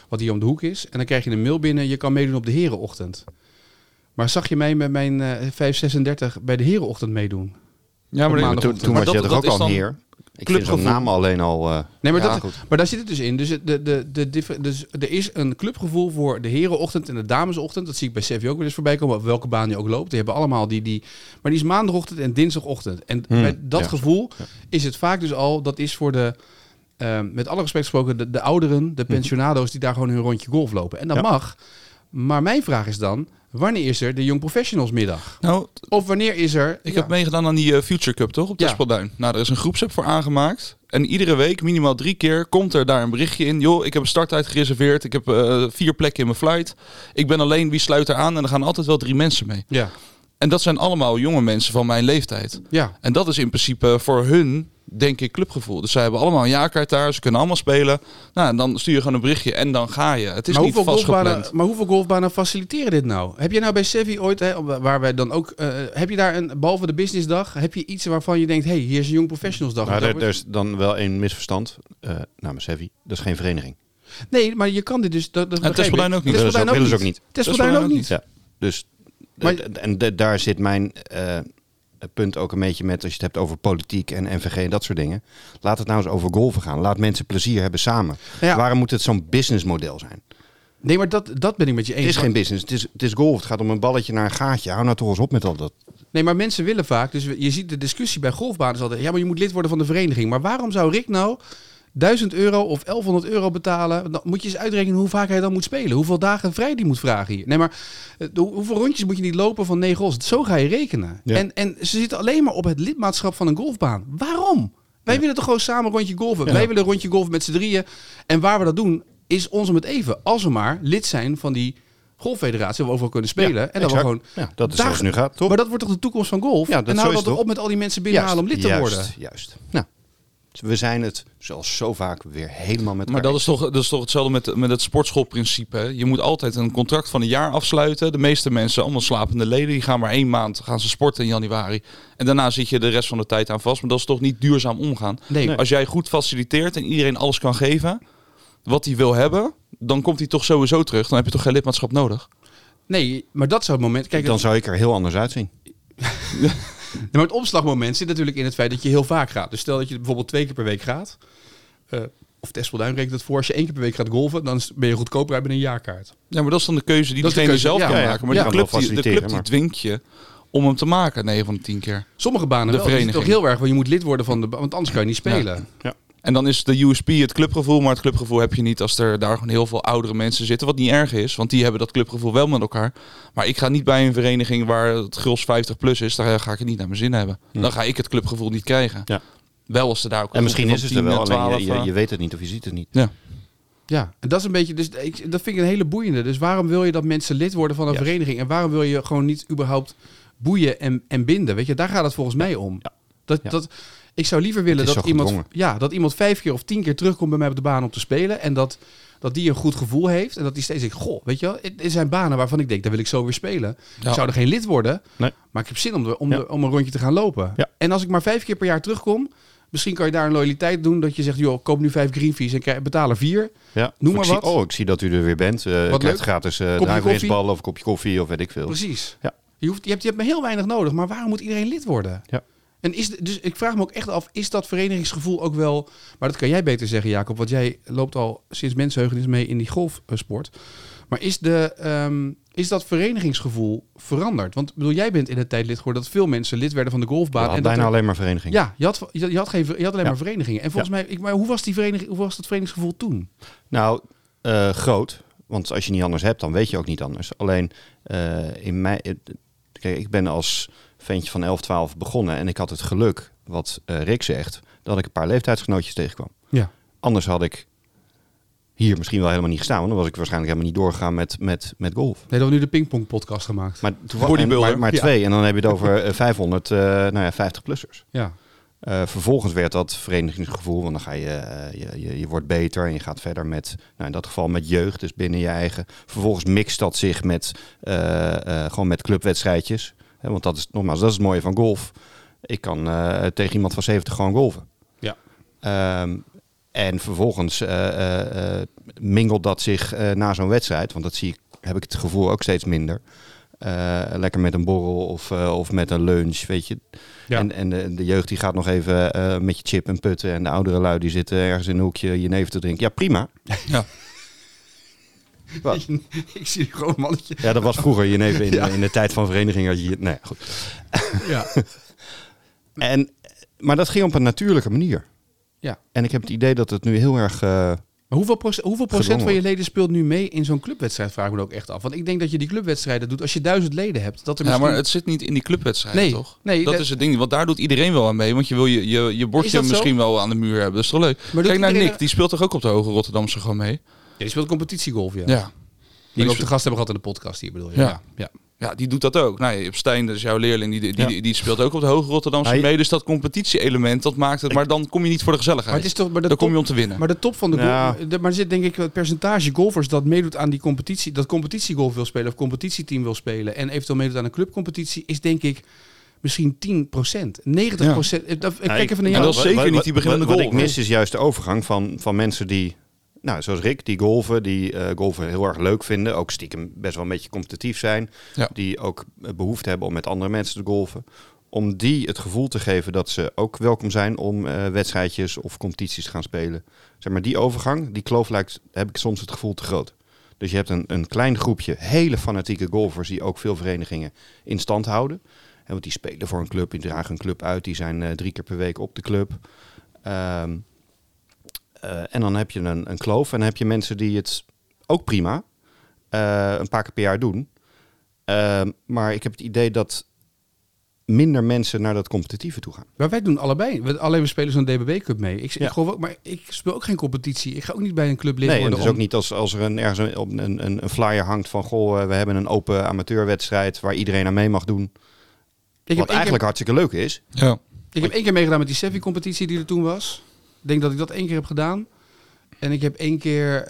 Speaker 1: Wat hier om de hoek is. En dan krijg je een mail binnen. Je kan meedoen op de Herenochtend. Maar zag je mij met mijn eh 536 bij de Herenochtend meedoen?
Speaker 3: Ja,
Speaker 1: maar
Speaker 2: Maar toen, toen
Speaker 3: Maar
Speaker 2: was
Speaker 3: dat-
Speaker 2: je toch
Speaker 3: dat
Speaker 2: ook
Speaker 3: is
Speaker 2: al
Speaker 3: dan
Speaker 2: hier. Ik vind zo'n
Speaker 3: clubgevoel.
Speaker 2: naam alleen al... eh,
Speaker 1: Nee, maar,
Speaker 2: ja,
Speaker 1: dat,
Speaker 2: goed.
Speaker 1: maar daar zit het dus in. Dus, het- de, de, de, differ- dus er is een clubgevoel voor de herenochtend en de damesochtend. Dat zie ik bij Sevi ook wel eens voorbij komen. Op welke baan je ook loopt. Die hebben allemaal die... die maar die is maandagochtend en dinsdagochtend. En
Speaker 2: Hmm,
Speaker 1: met dat
Speaker 2: ja,
Speaker 1: gevoel is het vaak dus al... Dat is voor de... eh, met alle respect gesproken, de, de ouderen, de pensionado's... die daar gewoon hun rondje golf lopen. En dat
Speaker 2: Mhm. Ja.
Speaker 1: mag. Maar mijn vraag is dan... Wanneer is er de Young Professionals middag?
Speaker 3: Nou,
Speaker 1: Of wanneer is er...
Speaker 3: ik
Speaker 1: ja.
Speaker 3: heb meegedaan aan die eh, Future Cup, toch? Op
Speaker 1: Ja.
Speaker 3: Tespelduin. Nou, er is een groepsapp voor aangemaakt. En iedere week, minimaal drie keer, komt er daar een berichtje in. Joh, ik heb een starttijd gereserveerd. Ik heb eh, vier plekken in mijn flight. Ik ben alleen, wie sluit er aan? En er gaan altijd wel drie mensen mee.
Speaker 1: Ja,
Speaker 3: En dat zijn allemaal jonge mensen van mijn leeftijd.
Speaker 1: ja.
Speaker 3: En dat is in principe voor hun, denk ik, clubgevoel. Dus zij hebben allemaal een jaarkaart daar, ze kunnen allemaal spelen. Nou, en dan stuur je gewoon een berichtje en dan ga je. Het is
Speaker 1: maar,
Speaker 3: niet
Speaker 1: hoeveel golfbanen,
Speaker 3: vastgepland.
Speaker 1: maar hoeveel golfbanen faciliteren dit nou? Heb je nou bij Sevi ooit, hè, waar wij dan ook, eh, heb je daar een, behalve de businessdag, heb je iets waarvan je denkt, hey, hier is een Young Professionals dag.
Speaker 2: Maar Nou, er, er is dan wel een misverstand eh, namens Heavy. Dat is geen vereniging.
Speaker 1: Nee, maar je kan dit dus. Dat, dat begrijp ik.
Speaker 3: Tespelduin ook niet.
Speaker 2: Willen ze
Speaker 1: Tespelduin
Speaker 2: ook- willen ze ook niet.
Speaker 1: Tespelduin ook niet.
Speaker 2: Ja. Dus
Speaker 1: Maar-
Speaker 2: d- d- en d- daar zit mijn eh, punt ook een beetje met als je het hebt over politiek en NVG en dat soort dingen. Laat het nou eens over golven gaan. Laat mensen plezier hebben samen.
Speaker 1: Nou ja.
Speaker 2: Waarom moet het zo'n businessmodel zijn?
Speaker 1: Nee, maar dat, dat ben ik met je eens.
Speaker 2: Het is geen business. Het is, het is golf. Het gaat om een balletje naar een gaatje. Hou nou toch eens op met al dat.
Speaker 1: Nee, maar mensen willen vaak. Dus je ziet de discussie bij golfbanen is altijd. Ja, maar je moet lid worden van de vereniging. Maar waarom zou Rick nou 1000 euro of 1100 euro betalen? Dan moet je eens uitrekenen hoe vaak hij dan moet spelen. Hoeveel dagen vrij die moet vragen hier. Nee, maar eh, hoe- hoeveel rondjes moet je niet lopen van 9 holes? Zo ga je rekenen.
Speaker 2: Ja.
Speaker 1: En, en ze zitten alleen maar op het lidmaatschap van een golfbaan. Waarom? Wij willen toch gewoon samen een rondje golven. Wij willen een rondje golven met z'n drieën. En waar we dat doen, is ons om het even. Als we maar lid zijn van die golffederatie, waar we overal kunnen spelen. en dat we
Speaker 2: exact.
Speaker 1: gewoon
Speaker 2: Ja, dat is
Speaker 1: daar-
Speaker 2: zoals het nu gaat, toch?
Speaker 1: Maar dat wordt toch de toekomst van golf?
Speaker 2: Ja, dat-
Speaker 1: en
Speaker 2: zo
Speaker 1: hou dan
Speaker 2: is het
Speaker 1: toch
Speaker 2: toch?
Speaker 1: op met al die mensen binnenhalen om lid te
Speaker 2: juist,
Speaker 1: worden.
Speaker 2: Juist. Nou, we zijn het zoals zo vaak weer helemaal met
Speaker 3: Maar
Speaker 2: elkaar
Speaker 3: dat is toch, dat is toch hetzelfde met, met het sportschoolprincipe. hè? Je moet altijd een contract van een jaar afsluiten. De meeste mensen, allemaal slapende leden, die gaan maar één maand gaan ze sporten in januari. En daarna zit je de rest van de tijd aan vast. Maar dat is toch niet duurzaam omgaan.
Speaker 1: Nee.
Speaker 3: Als jij goed faciliteert en iedereen alles kan geven wat hij wil hebben, dan komt hij toch sowieso terug. Dan heb je toch geen lidmaatschap nodig.
Speaker 1: Nee, maar dat zou het moment. Kijk,
Speaker 2: Dan zou ik er heel anders uitzien.
Speaker 1: het, maar het opslagmoment zit natuurlijk in het feit dat je heel vaak gaat. Dus stel dat je bijvoorbeeld twee keer per week gaat. eh, of Tespelduin rekent het voor. Als je één keer per week gaat golven, dan is- ben je goedkoper uit met een jaarkaart.
Speaker 3: Ja, maar dat is dan de keuze die
Speaker 1: Dat is de
Speaker 3: diegene
Speaker 1: keuze,
Speaker 3: zelf
Speaker 1: ja.
Speaker 3: kan
Speaker 2: Ja, ja.
Speaker 3: maken. Maar
Speaker 2: Ja.
Speaker 3: die
Speaker 2: Kan wel
Speaker 3: club, die, de club
Speaker 2: faciliteren,
Speaker 3: die
Speaker 2: maar-
Speaker 3: dwingt je om hem te maken 9 van de 10 keer.
Speaker 1: Sommige banen
Speaker 3: De
Speaker 1: wel. Dus het is toch
Speaker 3: vereniging.
Speaker 1: heel erg, want je moet lid worden van de ba- Want anders kan je niet spelen.
Speaker 3: En dan is de USP het clubgevoel, maar het clubgevoel heb je niet als er daar gewoon heel veel oudere mensen zitten. Wat niet erg is, want die hebben dat clubgevoel wel met elkaar. Maar ik ga niet bij een vereniging waar het gros 50 plus is, daar ga ik het niet naar mijn zin hebben. Dan ga ik het clubgevoel niet krijgen.
Speaker 2: Ja.
Speaker 3: Wel als ze daar ook
Speaker 2: En misschien
Speaker 3: een
Speaker 2: is
Speaker 3: groep
Speaker 2: het
Speaker 3: van
Speaker 2: er
Speaker 3: 10
Speaker 2: wel,
Speaker 3: en
Speaker 2: alleen je,
Speaker 3: 12,
Speaker 2: je, je weet het niet of je ziet het niet.
Speaker 3: eh, Ja.
Speaker 1: Ja, en dat is een beetje. Dus ik, dat vind ik een hele boeiende. Dus waarom wil je dat mensen lid worden van een
Speaker 2: Juist.
Speaker 1: vereniging? En waarom wil je gewoon niet überhaupt boeien en, en binden? Weet je, daar gaat het volgens mij om. Dat,
Speaker 2: Ja.
Speaker 1: dat, Ik zou liever willen
Speaker 2: Het is
Speaker 1: dat
Speaker 2: zo
Speaker 1: iemand,
Speaker 2: gedwongen.
Speaker 1: ja, dat iemand vijf keer of tien keer terugkomt bij mij op de baan om te spelen. En dat, dat die een goed gevoel heeft. En dat die steeds denkt, goh, weet je wel, er zijn banen waarvan ik denk, daar wil ik zo weer spelen.
Speaker 3: Ja.
Speaker 1: Ik zou er geen lid worden,
Speaker 2: Nee.
Speaker 1: maar ik heb zin om, de, om,
Speaker 2: Ja.
Speaker 1: de- om een rondje te gaan lopen.
Speaker 2: Ja.
Speaker 1: En als ik maar vijf keer per jaar terugkom, misschien kan je daar een loyaliteit doen. Dat je zegt, joh, koop nu vijf greenfees en krijg- betaal er vier.
Speaker 2: Ja.
Speaker 1: Noem
Speaker 2: Ik
Speaker 1: maar
Speaker 2: zie-
Speaker 1: wat.
Speaker 2: oh, ik zie dat u er weer bent. Eh
Speaker 1: Wat
Speaker 2: wat krijgt
Speaker 1: leuk.
Speaker 2: gratis eh
Speaker 1: Kopje
Speaker 2: drijfrinsballen of een kopje koffie of weet ik veel.
Speaker 1: Precies.
Speaker 2: Ja.
Speaker 1: Je, hoeft, je, hebt, je hebt me heel weinig nodig, maar waarom moet iedereen lid worden?
Speaker 2: Ja.
Speaker 1: En is, de- dus ik vraag me ook echt af, is dat verenigingsgevoel ook wel... Maar dat kan jij beter zeggen, Jacob, want jij loopt al sinds mensheugenis mee in die golfsport. Maar is, de, ehm, is dat verenigingsgevoel veranderd? Want ik bedoel, jij bent in de tijd lid geworden dat veel mensen lid werden van de golfbaan.
Speaker 2: Ja,
Speaker 1: en dat
Speaker 2: bijna
Speaker 1: er-
Speaker 2: alleen maar vereniging.
Speaker 1: Ja, je had, je, had geen, je had alleen
Speaker 2: Ja.
Speaker 1: maar verenigingen. En volgens mij, ik, maar hoe was, die vereniging, hoe was dat verenigingsgevoel toen?
Speaker 2: Nou, eh, groot. Want als je niet anders hebt, dan weet je ook niet anders. Alleen eh, in mij. eh, Kijk, ik ben als ventje van 11, 12 begonnen. En ik had het geluk, wat eh, Rick zegt, dat ik een paar leeftijdsgenootjes tegenkwam.
Speaker 1: Ja.
Speaker 2: Anders had ik hier misschien wel helemaal niet gestaan. Want dan was ik waarschijnlijk helemaal niet doorgegaan met, met, met golf.
Speaker 1: Nee, dat we nu de pingpong-podcast gemaakt.
Speaker 2: Maar, toen-
Speaker 3: Bodybuilder.
Speaker 2: maar, maar
Speaker 1: Ja.
Speaker 2: twee. En dan heb je het
Speaker 1: [laughs]
Speaker 2: over eh, 500, eh nou ja, 50-plussers.
Speaker 1: ja.
Speaker 2: Eh, vervolgens werd dat verenigingsgevoel, want dan ga je, eh, je, je, je wordt beter en je gaat verder met, nou in dat geval met jeugd, dus binnen je eigen. Vervolgens mixt dat zich met, eh, eh, gewoon met clubwedstrijdjes. Hè, want dat is, nogmaals, dat is het mooie van golf. Ik kan eh, tegen iemand van 70 gewoon golven.
Speaker 1: Ja.
Speaker 2: Ehm, en vervolgens eh, eh, eh, mingelt dat zich eh, na zo'n wedstrijd, want dat zie ik, heb ik het gevoel ook steeds minder. Eh, lekker met een borrel of, eh, of met een lunch, weet je.
Speaker 1: Ja.
Speaker 2: En, en de, de jeugd die gaat nog even eh, met je chip en putten. En de oudere lui die zitten ergens in een hoekje je neven te drinken. Ja, prima.
Speaker 3: Ja.
Speaker 2: Wat?
Speaker 1: [laughs] ik zie gewoon een mannetje.
Speaker 2: Ja, dat was vroeger je neven [laughs] in, eh, in de tijd van vereniging. Had je, je- nee, goed.
Speaker 1: Ja.
Speaker 2: En, maar dat ging op een natuurlijke manier.
Speaker 1: Ja.
Speaker 2: En ik heb het idee dat het nu heel erg... eh,
Speaker 1: Maar hoeveel, proce- hoeveel procent
Speaker 2: Gedwongen
Speaker 1: van je leden speelt nu mee in zo'n clubwedstrijd? Vraag ik me dan ook echt af. Want ik denk dat je die clubwedstrijden doet als je duizend leden hebt. Dat er
Speaker 3: Ja,
Speaker 1: misschien...
Speaker 3: maar het zit niet in die clubwedstrijd,
Speaker 1: Nee,
Speaker 3: toch?
Speaker 1: nee,
Speaker 3: dat
Speaker 1: dat-
Speaker 3: is het ding. Want daar doet iedereen wel aan mee. Want je wil je, je, je
Speaker 1: Is
Speaker 3: bordje
Speaker 1: dat zo?
Speaker 3: misschien wel aan de muur hebben. Dat is toch leuk?
Speaker 1: doet
Speaker 3: Kijk naar
Speaker 1: iedereen
Speaker 3: Nick.
Speaker 1: er-
Speaker 3: Die speelt toch ook op de Hoge Rotterdamse gewoon mee?
Speaker 1: Ja, je speelt competitiegolf, ja.
Speaker 3: Ja. ja.
Speaker 1: Die we ook
Speaker 3: die
Speaker 1: de gast hebben gehad in de podcast hier, bedoel je.
Speaker 3: Ja.
Speaker 1: Ja. Ja.
Speaker 3: die doet dat ook. Nou, je hebt Stijn, dat is jouw leerling, die, die,
Speaker 2: Ja.
Speaker 3: die, die speelt ook op de Hoge Rotterdamse
Speaker 2: Hij-
Speaker 3: mee. Dus dat competitie-element, dat maakt het. Maar dan kom je niet voor de
Speaker 1: Maar, het
Speaker 3: gezelligheid.
Speaker 1: is toch, maar, de
Speaker 3: Dan kom je
Speaker 1: top,
Speaker 3: om te winnen.
Speaker 1: maar de top van de golf...
Speaker 2: Ja.
Speaker 1: de- Maar er zit denk ik het percentage golfers dat meedoet aan die competitie... dat competitiegolf wil spelen of competitieteam wil spelen... en eventueel meedoet aan een clubcompetitie... is denk ik misschien 10 90 Eh, dat- Ik kijk even naar
Speaker 3: en
Speaker 1: jou.
Speaker 3: dat is zeker niet die beginnende
Speaker 2: Wat, wat ik
Speaker 3: golfer.
Speaker 2: mis is juist de overgang van, van mensen die, nou, zoals Rick, die golven, die eh, golven heel erg leuk vinden. Ook stiekem best wel een beetje competitief zijn.
Speaker 3: Ja.
Speaker 2: Die ook eh, behoefte hebben om met andere mensen te golven. Om die het gevoel te geven dat ze ook welkom zijn om eh, wedstrijdjes of competities te gaan spelen. Zeg maar, die overgang, die kloof lijkt, heb ik soms het gevoel te groot. Dus je hebt een, een klein groepje hele fanatieke golfers die ook veel verenigingen in stand houden. Hè, want die spelen voor een club, die dragen een club uit, die zijn eh, drie keer per week op de club. Ehm, eh, en dan heb je een, een kloof en dan heb je mensen die het ook prima eh, een paar keer per jaar doen. Ehm, maar ik heb het idee dat minder mensen naar dat competitieve toe gaan.
Speaker 1: Maar wij doen allebei. We, alleen we spelen zo'n DBB Cup mee. Ik,
Speaker 2: Ja.
Speaker 1: ik geloof ook, maar ik speel ook geen competitie. Ik ga ook niet bij een club lid
Speaker 2: Nee, en
Speaker 1: worden
Speaker 2: het is
Speaker 1: om-
Speaker 2: ook niet als, als er een, ergens een, op een, een, een flyer hangt van... goh, eh, we hebben een open amateurwedstrijd waar iedereen aan mee mag doen.
Speaker 1: Ik
Speaker 2: wat
Speaker 1: heb één keer-
Speaker 2: eigenlijk hartstikke leuk is.
Speaker 3: Ja.
Speaker 1: Ik heb één keer meegedaan met die Sevi-competitie die er toen was. Ik denk dat ik dat één keer heb gedaan. En ik heb één keer... eh,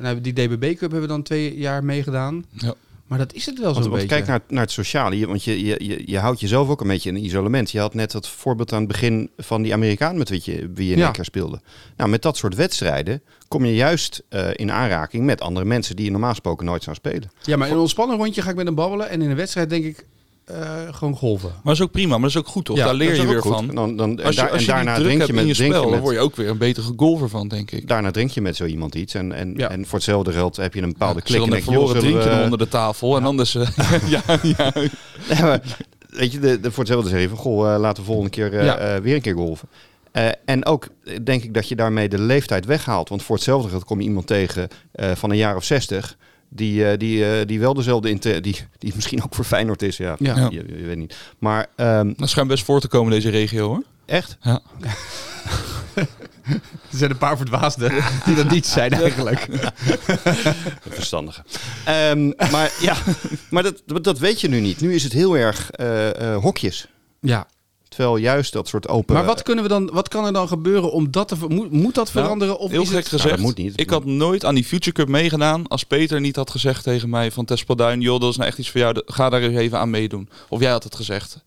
Speaker 1: nou, die DBB Cup hebben we dan twee jaar meegedaan.
Speaker 3: Ja.
Speaker 1: Maar dat is het wel
Speaker 2: Want,
Speaker 1: zo'n
Speaker 2: want
Speaker 1: beetje.
Speaker 2: kijk naar, naar het sociale. Je- Want je, je, je, je houdt jezelf ook een beetje in isolement. Je had net dat voorbeeld aan het begin van die Amerikaan met wie je, wie je
Speaker 1: Ja.
Speaker 2: een keer speelde. Nou, met dat soort wedstrijden kom je juist eh, in aanraking met andere mensen die je normaal gesproken nooit zou spelen.
Speaker 1: Ja, maar in een ontspannen rondje ga ik met hem babbelen. En in een wedstrijd denk ik eh, gewoon golven.
Speaker 3: Maar dat is ook prima. Maar dat is ook goed, toch?
Speaker 1: Ja,
Speaker 3: daar
Speaker 2: Dat
Speaker 3: leer
Speaker 2: is
Speaker 3: je
Speaker 2: ook
Speaker 3: weer
Speaker 2: goed.
Speaker 3: van.
Speaker 2: En, dan, dan, en,
Speaker 3: Als je,
Speaker 2: daar- en
Speaker 3: als je die
Speaker 2: daarna
Speaker 3: druk
Speaker 2: drink
Speaker 3: hebt
Speaker 2: je
Speaker 3: in je
Speaker 2: met, drink
Speaker 3: spel,
Speaker 2: je
Speaker 3: dan
Speaker 2: met
Speaker 3: word je ook weer een betere golfer van, denk ik.
Speaker 2: daarna drink je met zo iemand iets. En, en,
Speaker 1: Ja.
Speaker 2: en voor hetzelfde geld heb je een bepaalde klik.
Speaker 3: Zullen
Speaker 2: en
Speaker 3: we
Speaker 2: denk je, joh,
Speaker 3: verloren
Speaker 2: zullen
Speaker 3: drinken
Speaker 2: we-
Speaker 3: onder de tafel en anders... eh, [laughs] ja, ja,
Speaker 2: Nee, maar, weet je, de, de, voor hetzelfde zeggen van, goh, eh, laten we volgende keer eh,
Speaker 1: Ja.
Speaker 2: eh, weer een keer golven. Eh, en ook eh, denk ik dat je daarmee de leeftijd weghaalt. Want voor hetzelfde geld kom je iemand tegen eh, van een jaar of zestig. Die, eh, die, eh, die wel dezelfde inte- die, die misschien ook voor Feyenoord is. Ja,
Speaker 1: Ja.
Speaker 2: Je, je weet niet. Maar ehm,
Speaker 3: Dat schijnt best voor te komen deze regio hoor.
Speaker 2: echt,
Speaker 1: Er zijn een paar verdwaasden die dat niet zijn eigenlijk.
Speaker 2: de verstandige. Ehm, maar ja, maar dat, dat weet je nu niet. Nu is het heel erg eh, eh, hokjes.
Speaker 1: Ja.
Speaker 2: wel juist dat soort open... Ah,
Speaker 1: Maar wat, kunnen we dan, wat kan er dan gebeuren om dat te ver- moet, moet dat veranderen? Of
Speaker 3: Heel
Speaker 1: is
Speaker 3: gek
Speaker 1: het...
Speaker 3: gezegd,
Speaker 2: Nou, dat moet niet.
Speaker 3: ik had nooit aan die Future Cup meegedaan als Peter niet had gezegd tegen mij van Tespadduin, joh, dat is nou echt iets voor jou, ga daar eens even aan meedoen. Of jij had het gezegd.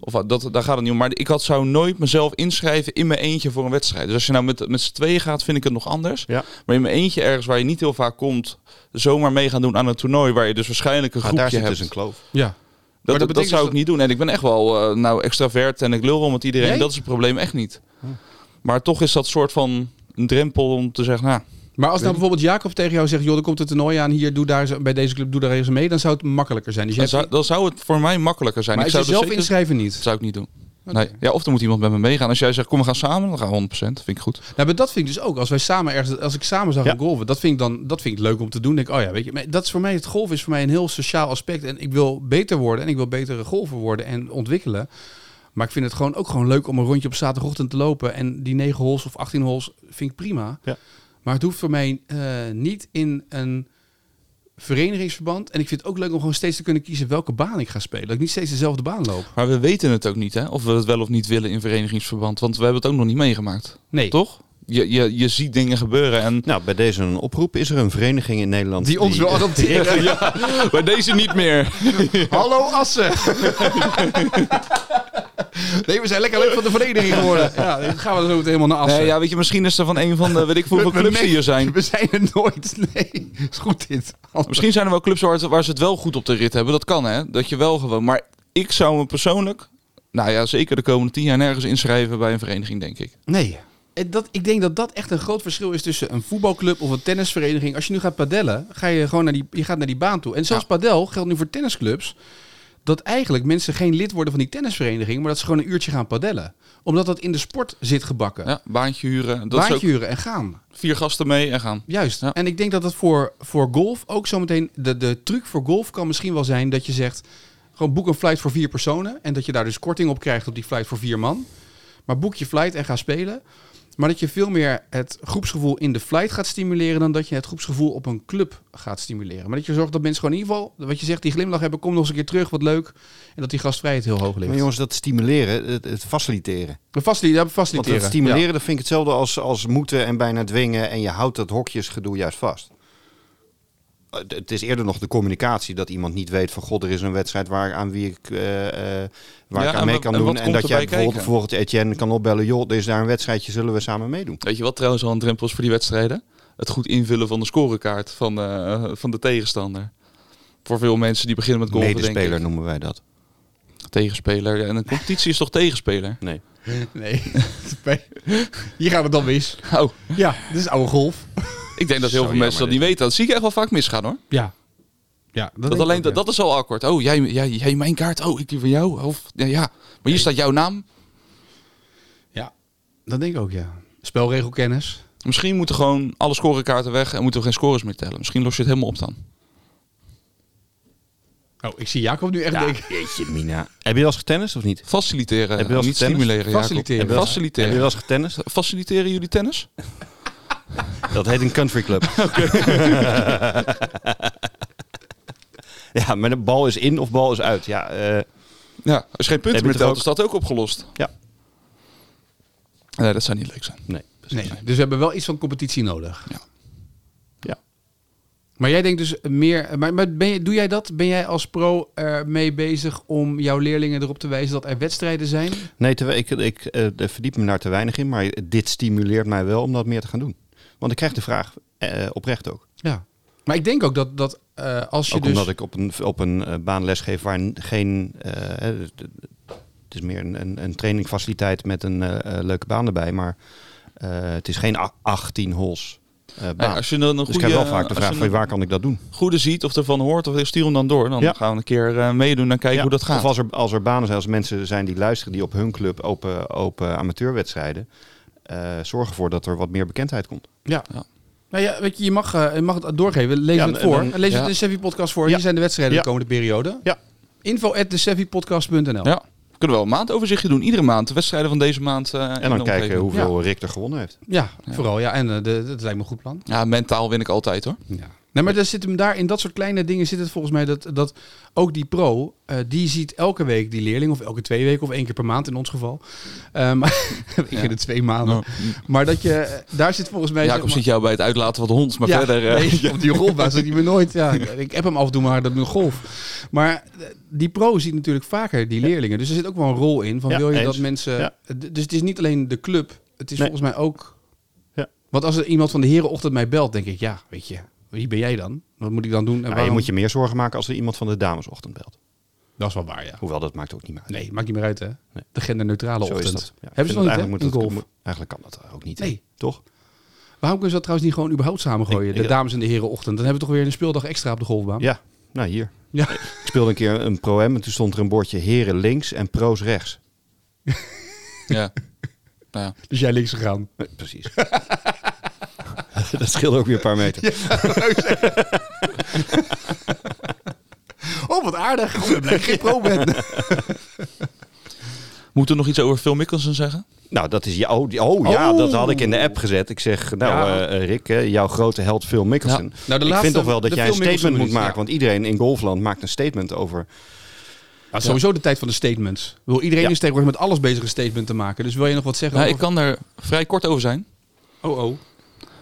Speaker 3: Of wat, dat, daar gaat het niet om. Maar ik had, zou nooit mezelf inschrijven in mijn eentje voor een wedstrijd. Dus als je nou met, met z'n tweeën gaat, vind ik het nog anders.
Speaker 2: Ja.
Speaker 3: Maar in mijn eentje ergens waar je niet heel vaak komt, zomaar mee gaan doen aan een toernooi waar je dus waarschijnlijk een
Speaker 2: Maar daar
Speaker 3: groepje
Speaker 2: zit
Speaker 3: hebt.
Speaker 2: dus een kloof.
Speaker 1: Ja. Maar
Speaker 3: Dat,
Speaker 1: dat
Speaker 3: dat,
Speaker 1: betekent
Speaker 3: zou
Speaker 1: dus
Speaker 3: ik niet doen. En ik ben echt wel eh, nou extravert en ik lul wel met iedereen.
Speaker 1: Jij?
Speaker 3: Dat is het probleem echt niet. Maar toch is dat soort van een drempel om te zeggen, nou,
Speaker 1: Maar als nou bijvoorbeeld Jacob tegen jou zegt, joh, er komt het toernooi aan hier, doe daar, eens- bij deze club, doe daar eens mee, dan zou het makkelijker zijn. Dus jij
Speaker 3: dan zou, dan zou het voor mij makkelijker zijn.
Speaker 1: maar
Speaker 3: ik
Speaker 1: als
Speaker 3: zou
Speaker 1: je
Speaker 3: dus
Speaker 1: zelf
Speaker 3: zeker-
Speaker 1: inschrijven niet.
Speaker 3: Dat zou ik niet doen.
Speaker 1: Oké.
Speaker 3: Nee. Ja, of er moet iemand met me meegaan. Als jij zegt, kom we gaan samen, dan gaan we 100%. Vind ik goed.
Speaker 1: Nou, maar dat vind ik dus ook. Als wij samen ergens, als ik samen zag
Speaker 2: Ja.
Speaker 1: gaan golven, dat vind ik dan, dat vind ik leuk om te doen. Denk, ik, oh ja, weet je, maar dat is voor mij het golf is voor mij een heel sociaal aspect en ik wil beter worden en ik wil betere golfer worden en ontwikkelen. Maar ik vind het gewoon ook gewoon leuk om een rondje op zaterdagochtend te lopen en die 9 holes of 18 holes vind ik prima.
Speaker 2: Ja.
Speaker 1: Maar het hoeft voor mij eh, niet in een verenigingsverband. En ik vind het ook leuk om gewoon steeds te kunnen kiezen welke baan ik ga spelen. Dat ik niet steeds dezelfde baan loop.
Speaker 3: Maar we weten het ook niet, hè? Of we het wel of niet willen in verenigingsverband. Want we hebben het ook nog niet meegemaakt.
Speaker 1: Nee.
Speaker 3: Toch? Je, je, je ziet dingen gebeuren [laughs] en
Speaker 2: Nou, bij deze een oproep. Is er een vereniging in Nederland eh,
Speaker 1: Die ons wil adopteren. [laughs]
Speaker 3: ja, bij deze niet meer.
Speaker 1: Hallo Assen! nee, we zijn lekker leuk van de vereniging geworden. Ja, dan gaan we zo meteen helemaal naar Assen.
Speaker 3: Nee, ja, weet je, misschien is er van een van de, [laughs] weet ik veel hoeveel
Speaker 1: We- we
Speaker 3: clubs die hier
Speaker 1: merken-
Speaker 3: zijn.
Speaker 1: We zijn er nooit. Nee, is goed dit.
Speaker 3: [laughs] Misschien zijn er wel clubs waar, het- waar ze het wel goed op de rit hebben. Dat kan, hè? Dat je wel gewoon. Maar ik zou me persoonlijk, nou ja, zeker de komende tien jaar nergens inschrijven bij een vereniging, denk ik.
Speaker 1: Nee. En Dat, ik denk dat dat echt een groot verschil is tussen een voetbalclub of een tennisvereniging. Als je nu gaat padellen, ga je gewoon naar die, je gaat naar die baan toe. En zelfs padel geldt nu voor tennisclubs. Dat eigenlijk mensen geen lid worden van die tennisvereniging, maar dat ze gewoon een uurtje gaan padellen. Omdat dat in de sport zit gebakken.
Speaker 3: Ja, baantje huren. Dat
Speaker 1: Baantje
Speaker 3: is ook
Speaker 1: huren en gaan.
Speaker 3: vier gasten mee en gaan.
Speaker 1: Juist.
Speaker 3: Ja.
Speaker 1: En ik denk dat dat voor, voor golf ook zometeen... De, de truc voor golf kan misschien wel zijn dat je zegt... gewoon boek een flight voor vier personen... en dat je daar dus korting op krijgt op die flight voor vier man. Maar boek je flight en ga spelen. Maar dat je veel meer het groepsgevoel in de flight gaat stimuleren... dan dat je het groepsgevoel op een club gaat stimuleren. Maar dat je zorgt dat mensen gewoon in ieder geval... wat je zegt, die glimlach hebben, kom nog eens een keer terug, wat leuk. En dat die gastvrijheid heel hoog
Speaker 2: Maar
Speaker 1: ligt.
Speaker 2: jongens, dat stimuleren, het, het faciliteren.
Speaker 1: We facili- ja,
Speaker 2: Want
Speaker 1: faciliteren.
Speaker 2: dat stimuleren,
Speaker 1: Ja.
Speaker 2: dat vind ik hetzelfde als, als moeten en bijna dwingen. En je houdt dat hokjesgedoe juist vast. Eh, d- Het is eerder nog de communicatie dat iemand niet weet van... God, er is een wedstrijd waar, aan wie ik, eh, eh, waar
Speaker 3: Ja,
Speaker 2: ik aan
Speaker 3: en
Speaker 2: mee
Speaker 3: wa-
Speaker 2: kan
Speaker 3: en
Speaker 2: doen.
Speaker 3: wat
Speaker 2: En
Speaker 3: komt
Speaker 2: dat jij
Speaker 3: erbij
Speaker 2: bijvoorbeeld
Speaker 3: kijken?
Speaker 2: bijvoorbeeld Etienne kan opbellen... joh, er is daar een wedstrijdje, zullen we samen meedoen?
Speaker 3: Weet je wat trouwens al een drempel is voor die wedstrijden? Het goed invullen van de scorekaart van, eh, van de tegenstander. Voor veel mensen die beginnen met golven, denk
Speaker 2: Medespeler
Speaker 3: ik.
Speaker 2: noemen wij dat.
Speaker 3: Tegenspeler. Ja, En een competitie is toch tegenspeler?
Speaker 2: Nee.
Speaker 1: [laughs] Nee. Hier gaat het dan mis.
Speaker 3: Oh,
Speaker 1: Ja, dit is oude golf.
Speaker 3: ik denk dat heel
Speaker 2: Zo
Speaker 3: veel mensen
Speaker 2: jammer
Speaker 3: dat niet weten. Dat zie ik echt wel vaak misgaan, hoor.
Speaker 1: Ja. Ja, dat,
Speaker 3: Dat,
Speaker 1: denk ik
Speaker 3: alleen,
Speaker 1: ook,
Speaker 3: dat,
Speaker 1: ja.
Speaker 3: dat is al akkoord. Oh, jij, jij, jij mijn kaart. Oh, ik die van jou. Of, ja, ja. Maar hier staat jouw naam.
Speaker 1: Ja, dat denk ik ook, ja. Spelregelkennis.
Speaker 3: Misschien moeten gewoon alle scorekaarten weg en moeten we geen scores meer tellen. Misschien los je het helemaal op dan.
Speaker 1: Oh, ik zie Jacob nu echt
Speaker 2: Ja,
Speaker 1: denken.
Speaker 2: jeetje, Mina. Heb je wel eens getennist of niet?
Speaker 3: Faciliteren.
Speaker 2: Heb je wel eens
Speaker 3: niet
Speaker 2: tennis?
Speaker 3: stimuleren. Jacob.
Speaker 1: Faciliteren. Heb je wel eens-
Speaker 2: Heb je
Speaker 3: Faciliteren.
Speaker 2: wel eens getennist?
Speaker 3: Faciliteren jullie tennis?
Speaker 2: Dat heet een country
Speaker 3: [laughs]
Speaker 2: club. [laughs] ja, maar de bal is in of bal is uit. Ja, eh,
Speaker 3: Ja, als je geen punten
Speaker 2: Heb je
Speaker 3: meer
Speaker 2: toch
Speaker 3: telt,
Speaker 2: ook-
Speaker 3: is dat ook opgelost.
Speaker 2: Ja.
Speaker 3: Nee, dat zou niet leuk zijn.
Speaker 2: nee.
Speaker 1: Nee, dus we hebben wel iets van competitie nodig.
Speaker 3: Ja.
Speaker 2: Ja.
Speaker 1: Maar jij denkt dus meer... Maar, maar ben je, doe jij dat? Ben jij als pro er mee bezig om jouw leerlingen erop te wijzen dat er wedstrijden zijn?
Speaker 2: Nee, te, we- ik, ik eh, daar verdiep me daar te weinig in, maar dit stimuleert mij wel om dat meer te gaan doen. Want ik krijg de vraag eh, oprecht ook.
Speaker 1: Ja. Maar ik denk ook dat, dat eh, als je
Speaker 2: Ook
Speaker 1: dus...
Speaker 2: omdat ik op een, op een eh, baan lesgeef waar n- geen... eh, hè, d- d- het is meer een, een, een trainingfaciliteit met een eh, eh, leuke baan erbij, maar eh, het is geen a- 18 holes eh, baan.
Speaker 3: Nee, als je dan een
Speaker 2: dus ik
Speaker 3: goede,
Speaker 2: krijg wel vaak de
Speaker 3: als
Speaker 2: vraag
Speaker 3: je
Speaker 2: van
Speaker 3: een
Speaker 2: waar kan ik dat doen?
Speaker 3: goede ziet of ervan hoort, of stuur hem dan door. Dan
Speaker 2: Ja.
Speaker 3: gaan we een keer eh, meedoen en kijken
Speaker 2: Ja,
Speaker 3: hoe dat gaat.
Speaker 2: Of als er, als er banen zijn, als mensen zijn die luisteren die op hun club open, open amateurwedstrijden. eh zorg ervoor dat er wat meer bekendheid komt.
Speaker 1: Ja.
Speaker 3: Ja.
Speaker 1: Nou ja, weet je, je mag, eh, je mag het doorgeven. Lees
Speaker 2: Ja,
Speaker 1: het
Speaker 2: en
Speaker 1: voor.
Speaker 2: dan-
Speaker 1: Lees
Speaker 3: ja.
Speaker 1: het in de Sevi-podcast voor.
Speaker 2: Ja.
Speaker 1: Hier zijn de wedstrijden
Speaker 2: Ja.
Speaker 1: de komende periode.
Speaker 2: Ja.
Speaker 1: Info at thesevipodcast.nl.
Speaker 3: Ja, kunnen we wel een maandoverzichtje doen. Iedere maand, de wedstrijden van deze maand. eh, in
Speaker 2: En
Speaker 3: de
Speaker 2: dan
Speaker 3: omgeving.
Speaker 2: kijken hoeveel Rick er gewonnen heeft.
Speaker 1: Ja, vooral. Ja, en eh, de, dat lijkt me een goed plan.
Speaker 3: Ja, mentaal win ik altijd hoor.
Speaker 1: Ja. Nee, maar daar zit hem daar in dat soort kleine dingen zit het volgens mij dat, dat ook die pro, eh, die ziet elke week die leerling, of elke twee weken, of één keer per maand in ons geval. Eh, maar [laughs] ik in de twee maanden.
Speaker 3: Nou,
Speaker 1: Maar dat je, eh, daar zit volgens mij.
Speaker 3: Jacob
Speaker 1: zeg maar-
Speaker 3: zit jou bij het uitlaten van de hond, maar
Speaker 1: Ja,
Speaker 3: verder... eh, [laughs]
Speaker 2: [laughs]
Speaker 1: nee, op die golfbaan zit hij me nooit. Ja, ik- ik heb hem af en toe maar dat mijn golf. Maar eh, die pro ziet natuurlijk vaker die leerlingen. Dus er zit ook wel een rol in van
Speaker 4: Ja,
Speaker 1: wil je
Speaker 4: eens.
Speaker 1: dat mensen...
Speaker 4: Ja.
Speaker 1: D- Dus het is niet alleen de club. Het is
Speaker 4: Nee.
Speaker 1: volgens mij ook...
Speaker 4: Ja.
Speaker 1: Want als er iemand van de herenochtend mij belt, denk ik... Ja, weet je, wie ben jij dan? Wat moet ik dan doen? En
Speaker 2: Nou, je
Speaker 1: waarom?
Speaker 2: moet je meer zorgen maken als er iemand van de damesochtend belt.
Speaker 1: Dat is wel waar, ja.
Speaker 2: Hoewel, dat maakt ook niet meer uit.
Speaker 1: Nee, maakt niet meer uit, hè?
Speaker 2: Nee.
Speaker 1: De genderneutrale
Speaker 2: Zo is
Speaker 1: ochtend.
Speaker 2: dat. Ja, ik
Speaker 1: Hebben ze
Speaker 2: vind
Speaker 1: nog
Speaker 2: dat
Speaker 1: niet, hè,
Speaker 2: eigenlijk,
Speaker 1: in
Speaker 2: moet dat,
Speaker 1: golf?
Speaker 2: moet- eigenlijk kan dat ook niet. hè?
Speaker 1: Nee.
Speaker 2: Toch?
Speaker 1: Waarom kunnen ze dat trouwens niet gewoon überhaupt samengooien?
Speaker 2: Ik-
Speaker 1: de
Speaker 2: ik-
Speaker 1: dames en de herenochtend. Dan hebben we toch weer een speeldag extra op de golfbaan.
Speaker 2: Ja. Nou, hier.
Speaker 1: Ja.
Speaker 2: Ik speelde een keer een pro-am en toen stond er een bordje heren links en pro's rechts.
Speaker 3: ja. Nou ja.
Speaker 1: Dus jij links gegaan.
Speaker 2: Eh,
Speaker 1: [laughs]
Speaker 2: Precies. [laughs] dat scheelde ook weer een paar meter.
Speaker 1: Oh, wat aardig. Oh, ik ben blij dat ik geen pro
Speaker 2: [laughs]
Speaker 1: ben.
Speaker 3: Moeten we nog iets over Phil Mickelson zeggen?
Speaker 2: Nou, dat is jou. die- Oh, ja,
Speaker 1: Oh.
Speaker 2: dat had ik in de app gezet. Ik zeg, nou
Speaker 1: Ja.
Speaker 2: eh, eh, Rick, hè, jouw grote held Phil Mickelson.
Speaker 1: Ja. Nou, de
Speaker 2: ik
Speaker 1: laatste-
Speaker 2: vind toch wel dat
Speaker 1: de
Speaker 2: jij een
Speaker 1: Phil Mickelson
Speaker 2: statement moet
Speaker 1: is, ja.
Speaker 2: maken. Want iedereen in golfland maakt een statement over...
Speaker 1: Ja, sowieso de tijd van de statements. Ik bedoel, iedereen
Speaker 2: Ja.
Speaker 1: is tegenwoordig met alles bezig een statement te maken. Dus wil je nog wat zeggen?
Speaker 3: Nou, ik
Speaker 1: over-
Speaker 3: kan er vrij kort over zijn.
Speaker 1: Oh, oh.